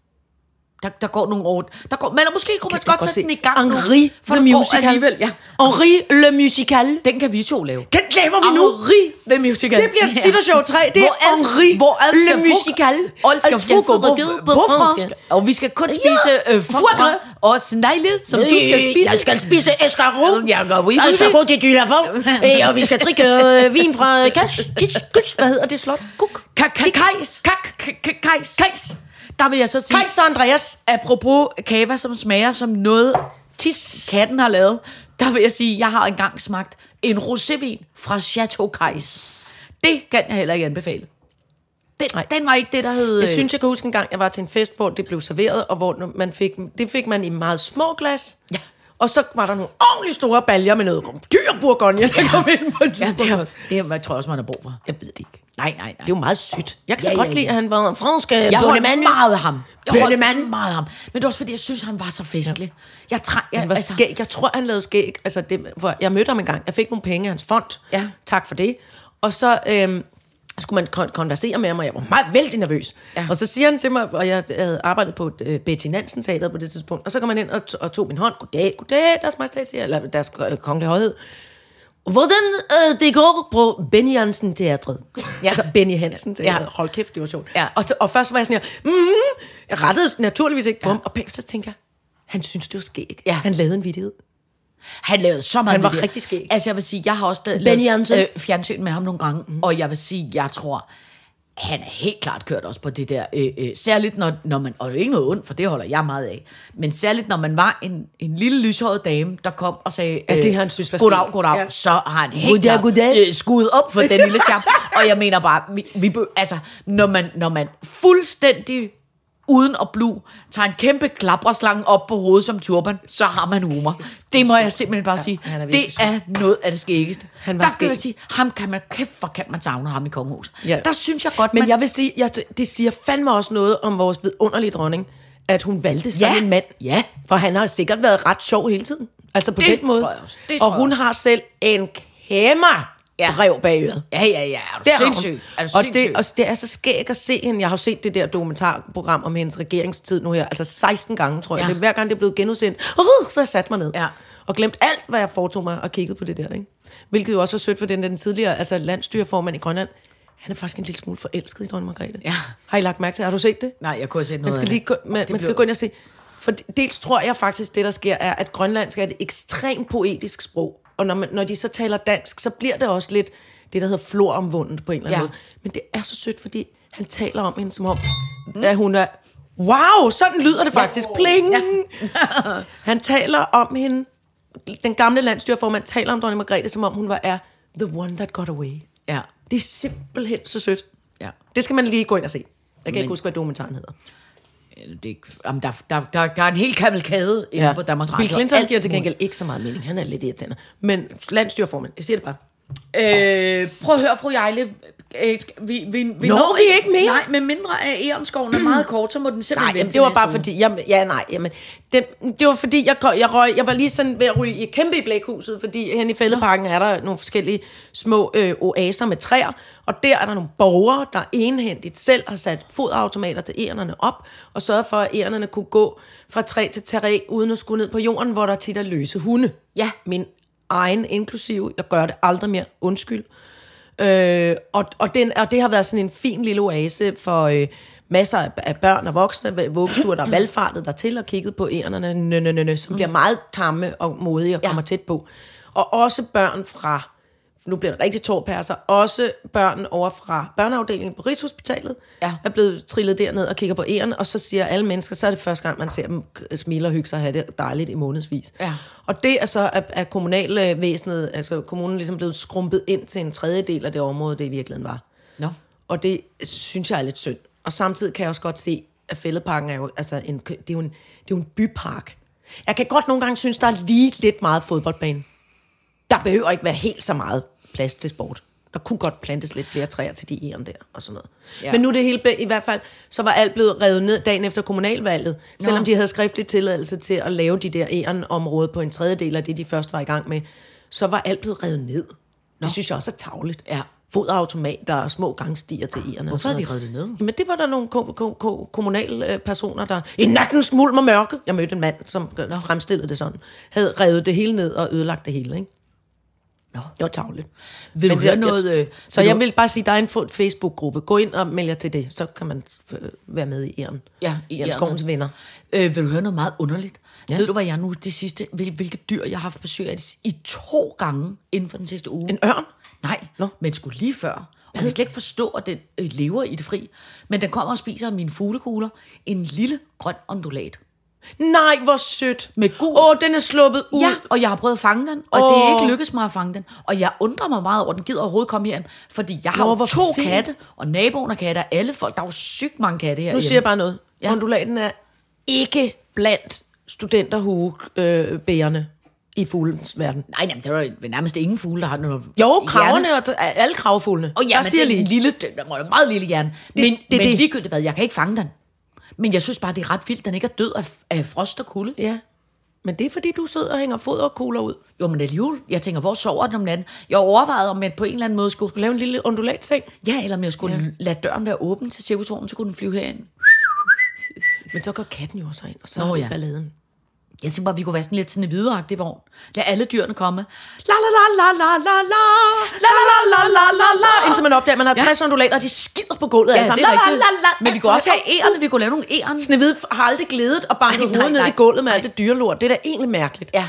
[SPEAKER 4] Der, der går nogle år. Der går, men måske kunne man
[SPEAKER 3] Jeg kan
[SPEAKER 4] godt sætte den i gang nu,
[SPEAKER 3] Henri
[SPEAKER 4] for
[SPEAKER 3] the
[SPEAKER 4] der går
[SPEAKER 3] Musical.
[SPEAKER 4] alligevel. Ja.
[SPEAKER 3] Henri le Musical.
[SPEAKER 4] Den kan vi to lave.
[SPEAKER 3] Den laver vi nu.
[SPEAKER 4] Henri the Musical.
[SPEAKER 3] Det bliver Cittershow 3. Det er
[SPEAKER 4] hvor alt,
[SPEAKER 3] Henri
[SPEAKER 4] hvor alt
[SPEAKER 3] Le
[SPEAKER 4] skal fru-
[SPEAKER 3] Musical.
[SPEAKER 4] Alt skal foregå på, på, fransk. Og vi skal kun spise ja. øh, foie gras og snegle, som du skal spise.
[SPEAKER 6] Jeg skal spise escargot.
[SPEAKER 4] Jeg går
[SPEAKER 6] Og escargot til Dylafon. Og vi skal drikke øh, vin fra øh, Kash. Kitsch, kitsch. Hvad hedder det slot? Kuk.
[SPEAKER 4] Kajs. Kajs. Kajs. Der vil jeg så sige...
[SPEAKER 6] Kajs og Andreas.
[SPEAKER 4] Apropos kava, som smager som noget, tis katten har lavet, der vil jeg sige, jeg har engang smagt en rosévin fra Chateau Kajs. Det kan jeg heller ikke anbefale. Den, den var ikke det, der hed... øh,
[SPEAKER 3] Jeg synes, jeg kan huske en gang, jeg var til en fest, hvor det blev serveret, og hvor man fik, det fik man i meget små glas.
[SPEAKER 4] Ja.
[SPEAKER 3] Og så var der nogle ordentligt store baljer med noget dyr bourgogne, der kom ind på et
[SPEAKER 4] ja,
[SPEAKER 3] tidspunkt.
[SPEAKER 4] det, er, også- det er, jeg tror jeg også, man har brug for.
[SPEAKER 3] Jeg ved det ikke.
[SPEAKER 4] Nej, nej, nej.
[SPEAKER 3] Det er jo meget sødt. Jeg kan
[SPEAKER 4] Ja,
[SPEAKER 3] ja, godt
[SPEAKER 4] ja,
[SPEAKER 3] ja, ja.
[SPEAKER 4] ja.
[SPEAKER 3] lide, at han var en fransk øh,
[SPEAKER 4] jeg holdt
[SPEAKER 3] bondemand.
[SPEAKER 4] meget af ham. Jeg holdt
[SPEAKER 3] Bøllemand.
[SPEAKER 4] meget af ham. Men det var også, fordi jeg synes, han var så festlig. Jeg træ, jeg,
[SPEAKER 3] Han var altså. skæg. Jeg tror, han lavede skæg. Altså, det, for jeg mødte ham en gang. Jeg fik nogle penge af hans fond.
[SPEAKER 4] Ja.
[SPEAKER 3] Tak for det. Og så øhm, skulle man kon- konversere med ham, og jeg var meget vældig nervøs.
[SPEAKER 4] Ja.
[SPEAKER 3] Og så siger han til mig, og jeg havde arbejdet på øh, Betty Nansen Teater på det tidspunkt, og så kom han ind og, t- og tog min hånd. Goddag, goddag, deres majestæt, siger jeg, eller deres øh, kongelige højhed. Hvordan øh, det går på Benny Hansen Teatret? Ja. Altså Benny Hansen Teatret.
[SPEAKER 4] Ja.
[SPEAKER 3] Ja. Hold kæft, det var sjovt.
[SPEAKER 4] Ja.
[SPEAKER 3] Og, så, og først var jeg sådan her, mm, jeg rettede naturligvis ikke på ham, og bagefter tænkte jeg, han synes, det var skæg.
[SPEAKER 4] Ja.
[SPEAKER 3] Han lavede en vidighed.
[SPEAKER 4] Han lavede så meget
[SPEAKER 3] Han var
[SPEAKER 4] med det.
[SPEAKER 3] rigtig skæg.
[SPEAKER 4] Altså jeg vil sige, jeg har også da-
[SPEAKER 3] Benny Mhm. Jørgensen.
[SPEAKER 4] øh, fjernsyn med ham nogle gange, mm. og jeg vil sige, jeg tror, han er helt klart kørt også på det der, øh, øh, særligt når, når man, og det er ikke noget ondt, for det holder jeg meget af, men særligt når man var en, en lille lyshåret dame, der kom og sagde, øh,
[SPEAKER 3] Ja, det han synes var
[SPEAKER 4] goddag,
[SPEAKER 3] skægt."
[SPEAKER 4] goddag,
[SPEAKER 3] Ja.
[SPEAKER 4] ja. så har han helt
[SPEAKER 3] Goddag,
[SPEAKER 4] klart,
[SPEAKER 3] goddag.
[SPEAKER 4] Øh, skudt op for den lille charme, og jeg mener bare, vi, vi, be- altså, når man, når man fuldstændig uden at blu, tager en kæmpe klapperslange op på hovedet som turban, så har man humor. Det må jeg simpelthen bare sige.
[SPEAKER 3] han er virkelig
[SPEAKER 4] det er noget af det skæggeste.
[SPEAKER 3] Han
[SPEAKER 4] Han
[SPEAKER 3] var
[SPEAKER 4] var der kan
[SPEAKER 3] skæg.
[SPEAKER 4] jeg sige, ham kan man, kæft hvor kan man savne ham i kongehuset.
[SPEAKER 3] Ja.
[SPEAKER 4] Ja. Der synes jeg godt,
[SPEAKER 3] Men
[SPEAKER 4] man,
[SPEAKER 3] jeg vil sige, jeg, det siger fandme også noget om vores vidunderlige dronning, at hun valgte sådan
[SPEAKER 4] Ja.
[SPEAKER 3] en mand.
[SPEAKER 4] Ja.
[SPEAKER 3] For han har sikkert været ret sjov hele tiden. Altså på
[SPEAKER 4] Det
[SPEAKER 3] den måde.
[SPEAKER 4] tror jeg også. Det
[SPEAKER 3] og
[SPEAKER 4] tror jeg
[SPEAKER 3] hun har selv en kæmmer ja.
[SPEAKER 4] Ja.
[SPEAKER 3] rev bag øret.
[SPEAKER 4] Ja, ja, ja. Er du
[SPEAKER 3] Det har hun.
[SPEAKER 4] sindssyg? Er du
[SPEAKER 3] og,
[SPEAKER 4] sindssyg?
[SPEAKER 3] det, og det er så skægt at se hende. Jeg har jo set det der dokumentarprogram om hendes regeringstid nu her. Altså 16 gange, tror jeg.
[SPEAKER 4] Ja.
[SPEAKER 3] Det, er hver gang det er blevet genudsendt, uh, så jeg satte mig ned.
[SPEAKER 4] Ja.
[SPEAKER 3] Og glemt alt, hvad jeg foretog mig og kiggede på det der. Ikke? Hvilket jo også var sødt for den, den tidligere altså landstyreformand i Grønland. Han er faktisk en lille smule forelsket i dronning Margrethe.
[SPEAKER 4] Ja.
[SPEAKER 3] Har I lagt mærke til? Har du set det?
[SPEAKER 4] Nej, jeg kunne have set noget
[SPEAKER 3] Man skal,
[SPEAKER 4] af
[SPEAKER 3] lige,
[SPEAKER 4] det.
[SPEAKER 3] gå- man,
[SPEAKER 4] Det
[SPEAKER 3] man skal
[SPEAKER 4] blev-
[SPEAKER 3] gå ind og se. For dels tror jeg faktisk, det der sker, er, at grønlandsk er et ekstremt poetisk sprog. Og når, man, når de så taler dansk, så bliver det også lidt det, der hedder floromvundet på en eller anden ja.
[SPEAKER 4] Ja.
[SPEAKER 3] måde. Men det er så sødt, fordi han taler om hende som om,
[SPEAKER 4] Mm.
[SPEAKER 3] at hun er... Wow, sådan lyder det faktisk. Pling! han taler om hende... Den gamle landstyrformand taler om dronning Margrethe, som om hun var er the one that got away.
[SPEAKER 4] Ja.
[SPEAKER 3] Det er simpelthen så sødt.
[SPEAKER 4] Ja.
[SPEAKER 3] Det skal man lige gå ind og se. Jeg kan Men...
[SPEAKER 4] Men-
[SPEAKER 3] ikke huske, hvad dokumentaren hedder.
[SPEAKER 4] Det, er ikke- jamen, der, der, der, der er en hel kavalkade inde ja. på Danmarks Radio.
[SPEAKER 3] Bill Clinton
[SPEAKER 4] Alt
[SPEAKER 3] giver til
[SPEAKER 4] muligt.
[SPEAKER 3] gengæld ikke så meget mening. Han er lidt irriterende. Men landstyrformand, jeg siger det bare.
[SPEAKER 4] Øh, prøv at høre, fru Jejle. Øh, skal- Vi, vi, vi
[SPEAKER 3] Når vi ikke mere?
[SPEAKER 4] Nej, men mindre af Erenskoven er meget kort, så må den
[SPEAKER 3] Nej,
[SPEAKER 4] simpelthen
[SPEAKER 3] jamen, det var bare fordi... Jamen, ja, nej. Jamen, det, det var fordi, jeg, kom- jeg, røg, jeg var lige sådan ved at ryge i kæmpe i blækhuset, fordi hen i fældeparken er der nogle forskellige små øh, oaser med træer, og der er der nogle borgere, der enhændigt selv har sat fodautomater til ærerne op, og sørget for, at ærerne kunne gå fra træ til træ, uden at skulle ned på jorden, hvor der tit er løse hunde. Ja. Min egen inklusiv. Jeg gør det aldrig mere. Undskyld. Øh, og, og, den, og det har været sådan en fin lille oase for øh, masser af, af børn og voksne, vuggestuer, der er valgfartet dertil og kigget på ærerne, nø, nø, nø, nø, som bliver meget tamme og modige og kommer tæt på. Og også børn fra, nu bliver det rigtig tårperser, også børn over fra børneafdelingen på Rigshospitalet
[SPEAKER 4] Ja.
[SPEAKER 3] er blevet trillet derned og kigger på æren, og så siger alle mennesker, så er det første gang, man ser dem k- smile og hygge sig og have det dejligt i månedsvis.
[SPEAKER 4] Ja.
[SPEAKER 3] Og det er så at, at kommunalvæsenet, altså kommunen ligesom blevet skrumpet ind til en tredjedel af det område, det i virkeligheden var.
[SPEAKER 4] Nå.
[SPEAKER 3] Og det synes jeg er lidt synd. Og samtidig kan jeg også godt se, at Fælledparken er jo, altså en, kø- det er jo en, det er jo en bypark. Jeg kan godt nogle gange synes, der er lige lidt meget fodboldbane. Der behøver ikke være helt så meget plads til sport. Der kunne godt plantes lidt flere træer til de æren der og sådan noget. Ja.
[SPEAKER 4] Ja.
[SPEAKER 3] Men nu er det hele, be- i hvert fald, så var alt blevet revet ned dagen efter kommunalvalget, Nå. selvom de havde skriftlig tilladelse til at lave de der ærenområde på en tredjedel af det, de først var i gang med, så var alt blevet revet ned. Det synes jeg også er tavligt.
[SPEAKER 4] Ja.
[SPEAKER 3] Fodautomater og små gangstier til ærerne.
[SPEAKER 4] Hvorfor
[SPEAKER 3] og sådan noget.
[SPEAKER 4] havde de revet det ned?
[SPEAKER 3] Jamen, det var der nogle ko- ko- ko- kommunale øh, personer, der i nattens mulm og mørke, jeg mødte en mand, som Nå. fremstillede det sådan, havde revet det hele ned og ødelagt det hele, ikke? Nå. Det var tavligt.
[SPEAKER 4] Vil du
[SPEAKER 3] Men jeg-
[SPEAKER 4] høre noget... øh,
[SPEAKER 3] Så
[SPEAKER 4] vil
[SPEAKER 3] jeg
[SPEAKER 4] du-
[SPEAKER 3] vil bare sige, der er en fuld Facebook-gruppe. Gå ind og meld jer til det, så kan man øh, være med i æren.
[SPEAKER 4] Ja, i
[SPEAKER 3] Jens
[SPEAKER 4] æren.
[SPEAKER 3] Skovens venner.
[SPEAKER 4] Øh, vil du høre noget meget underligt? Ja. Ved du, hvad jeg nu det sidste... Hvil, hvilke dyr, jeg har haft besøg af de- i to gange inden for den sidste uge?
[SPEAKER 3] En ørn?
[SPEAKER 4] Nej,
[SPEAKER 3] Nå.
[SPEAKER 4] no. men skulle lige før. Og jeg kan slet ikke forstå, at den øh, lever i det fri. Men den kommer og spiser af mine fuglekugler. En lille grøn ondulat.
[SPEAKER 3] Nej, hvor sødt.
[SPEAKER 4] Med gul.
[SPEAKER 3] Åh, den er sluppet ud.
[SPEAKER 4] Ja, og jeg har prøvet at fange den, og oh. det er
[SPEAKER 3] Åh.
[SPEAKER 4] ikke lykkedes mig at fange den. Og jeg undrer mig meget over, at den gider overhovedet komme hjem, fordi jeg har
[SPEAKER 3] Nå,
[SPEAKER 4] jo
[SPEAKER 3] hvor
[SPEAKER 4] to
[SPEAKER 3] fint.
[SPEAKER 4] fint. katte, og naboen har katte, og alle folk, der er jo sygt mange katte her.
[SPEAKER 3] Nu siger jeg bare noget. Ja. Undulaten er ikke blandt studenterhuebærerne i fuglens verden.
[SPEAKER 4] Nej, jamen, der er jo nærmest ingen fugle, der har noget...
[SPEAKER 3] Jo, kraverne og alle kravfuglene.
[SPEAKER 4] Og ja,
[SPEAKER 3] der
[SPEAKER 4] men
[SPEAKER 3] siger
[SPEAKER 4] det er en
[SPEAKER 3] lige.
[SPEAKER 4] lille, den er en meget lille hjerne. Det, men
[SPEAKER 3] det er
[SPEAKER 4] det, men
[SPEAKER 3] det.
[SPEAKER 4] det. ligegyldigt hvad, jeg kan ikke fange den. Men jeg synes bare, det er ret vildt, den ikke er død af, af frost og kulde.
[SPEAKER 3] Ja. Men det er fordi, du sidder og hænger fod og kugler ud.
[SPEAKER 4] Jo, men alligevel, jeg tænker, hvor sover den om natten? Jeg overvejede, om jeg på en eller anden måde skulle...
[SPEAKER 3] Du laver en lille undulatseng.
[SPEAKER 4] Ja, eller om jeg skulle ja. lade døren være åben til cirkusvognen, så kunne den flyve herind.
[SPEAKER 3] Men så går katten jo også ind, og så
[SPEAKER 4] Nå,
[SPEAKER 3] Nå, ja.
[SPEAKER 4] ja.
[SPEAKER 3] balladen.
[SPEAKER 4] Jeg tænkte bare, vi kunne være sådan lidt sådan en videreagtig vogn. Lad alle dyrene komme. La la la la la la la. La la la la la la la.
[SPEAKER 3] Indtil man opdager, at man har 60 undulater, og de skider på gulvet
[SPEAKER 4] Ja, det er rigtigt.
[SPEAKER 3] La, la, la, la.
[SPEAKER 4] Men vi kunne også have ærerne. Vi kunne lave nogle æren.
[SPEAKER 3] Snevide har aldrig glædet og banket
[SPEAKER 4] Ej, nej,
[SPEAKER 3] hovedet ned
[SPEAKER 4] nej.
[SPEAKER 3] i gulvet med alt det dyrelort. Det er da egentlig mærkeligt.
[SPEAKER 4] Ja.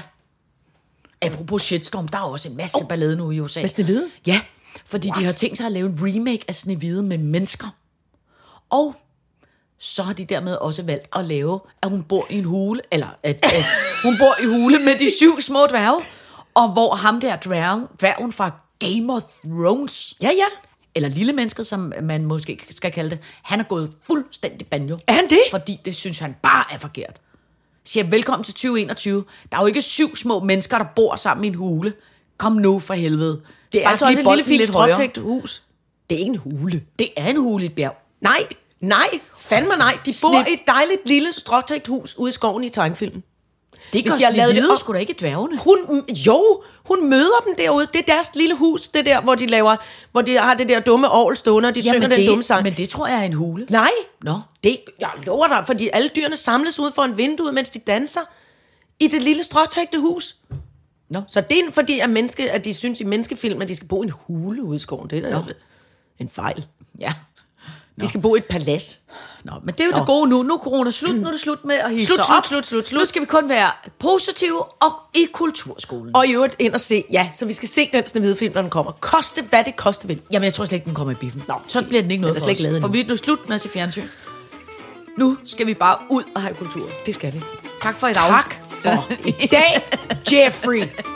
[SPEAKER 4] Apropos shitstorm, der er også en masse oh. ballade nu i USA.
[SPEAKER 3] Med Snehvide?
[SPEAKER 4] Ja. Fordi What? de har tænkt sig at lave en remake af Snevide med mennesker. Og så har de dermed også valgt at lave, at hun bor i en hule, eller at, at hun bor i hule med de syv små dværge, og hvor ham der dværgen, dværgen fra Game of Thrones,
[SPEAKER 3] Ja, ja.
[SPEAKER 4] eller lille mennesket, som man måske skal kalde det, han er gået fuldstændig banjo.
[SPEAKER 3] Er han det?
[SPEAKER 4] Fordi det synes han bare er forkert. Siger, velkommen til 2021. Der er jo ikke syv små mennesker, der bor sammen i en hule. Kom nu for helvede.
[SPEAKER 3] Det er
[SPEAKER 4] Spark
[SPEAKER 3] altså
[SPEAKER 4] lige
[SPEAKER 3] også et
[SPEAKER 4] bolden
[SPEAKER 3] lille fint
[SPEAKER 4] lidt højere.
[SPEAKER 3] stråtægt hus. Det er ikke en hule.
[SPEAKER 4] Det er en hule i et bjerg.
[SPEAKER 3] Nej, nej, fandme nej. De bor i et dejligt lille stråtægt hus ude i skoven i tegnfilmen.
[SPEAKER 4] Det
[SPEAKER 3] gør
[SPEAKER 4] Hvis de har lavet det
[SPEAKER 3] Snehvide
[SPEAKER 4] op, skulle da ikke dværgene.
[SPEAKER 3] Hun, jo, hun møder dem derude. Det er deres lille hus, det der, hvor de laver, hvor de har det der dumme ovl stående, og de synger den dumme sang.
[SPEAKER 4] Men det tror jeg er en hule.
[SPEAKER 3] Nej,
[SPEAKER 4] Nå.
[SPEAKER 3] det, jeg lover dig, fordi alle dyrene samles ude for en vindue, mens de danser i det lille stråtægte hus.
[SPEAKER 4] Nå.
[SPEAKER 3] Så det er fordi, at, menneske, at de synes i menneskefilm, at de skal bo i en hule ude i skoven. Det er da en fejl.
[SPEAKER 4] Ja.
[SPEAKER 3] De skal bo i et palads.
[SPEAKER 4] Nå, men det er jo Nå. det gode nu. Nu er corona slut. Nu er det slut med at hisse
[SPEAKER 3] Slut,
[SPEAKER 4] sig
[SPEAKER 3] slut,
[SPEAKER 4] op.
[SPEAKER 3] slut, slut, slut.
[SPEAKER 4] Nu skal vi kun være positive og i kulturskolen.
[SPEAKER 3] Og i øvrigt ind og se, ja, så vi skal se den snevide film, når den kommer. Koste hvad det koste vil.
[SPEAKER 4] Jamen, jeg tror slet ikke, den kommer i biffen. Nå, så bliver den ikke noget
[SPEAKER 3] Den er
[SPEAKER 4] for
[SPEAKER 3] slet ikke
[SPEAKER 4] os.
[SPEAKER 3] lavet
[SPEAKER 4] for
[SPEAKER 3] endnu.
[SPEAKER 4] vi er nu slut med at se fjernsyn. Nu skal vi bare ud og have kultur.
[SPEAKER 3] Det skal vi.
[SPEAKER 4] Tak for i dag.
[SPEAKER 3] Tak for i dag, Jeffrey.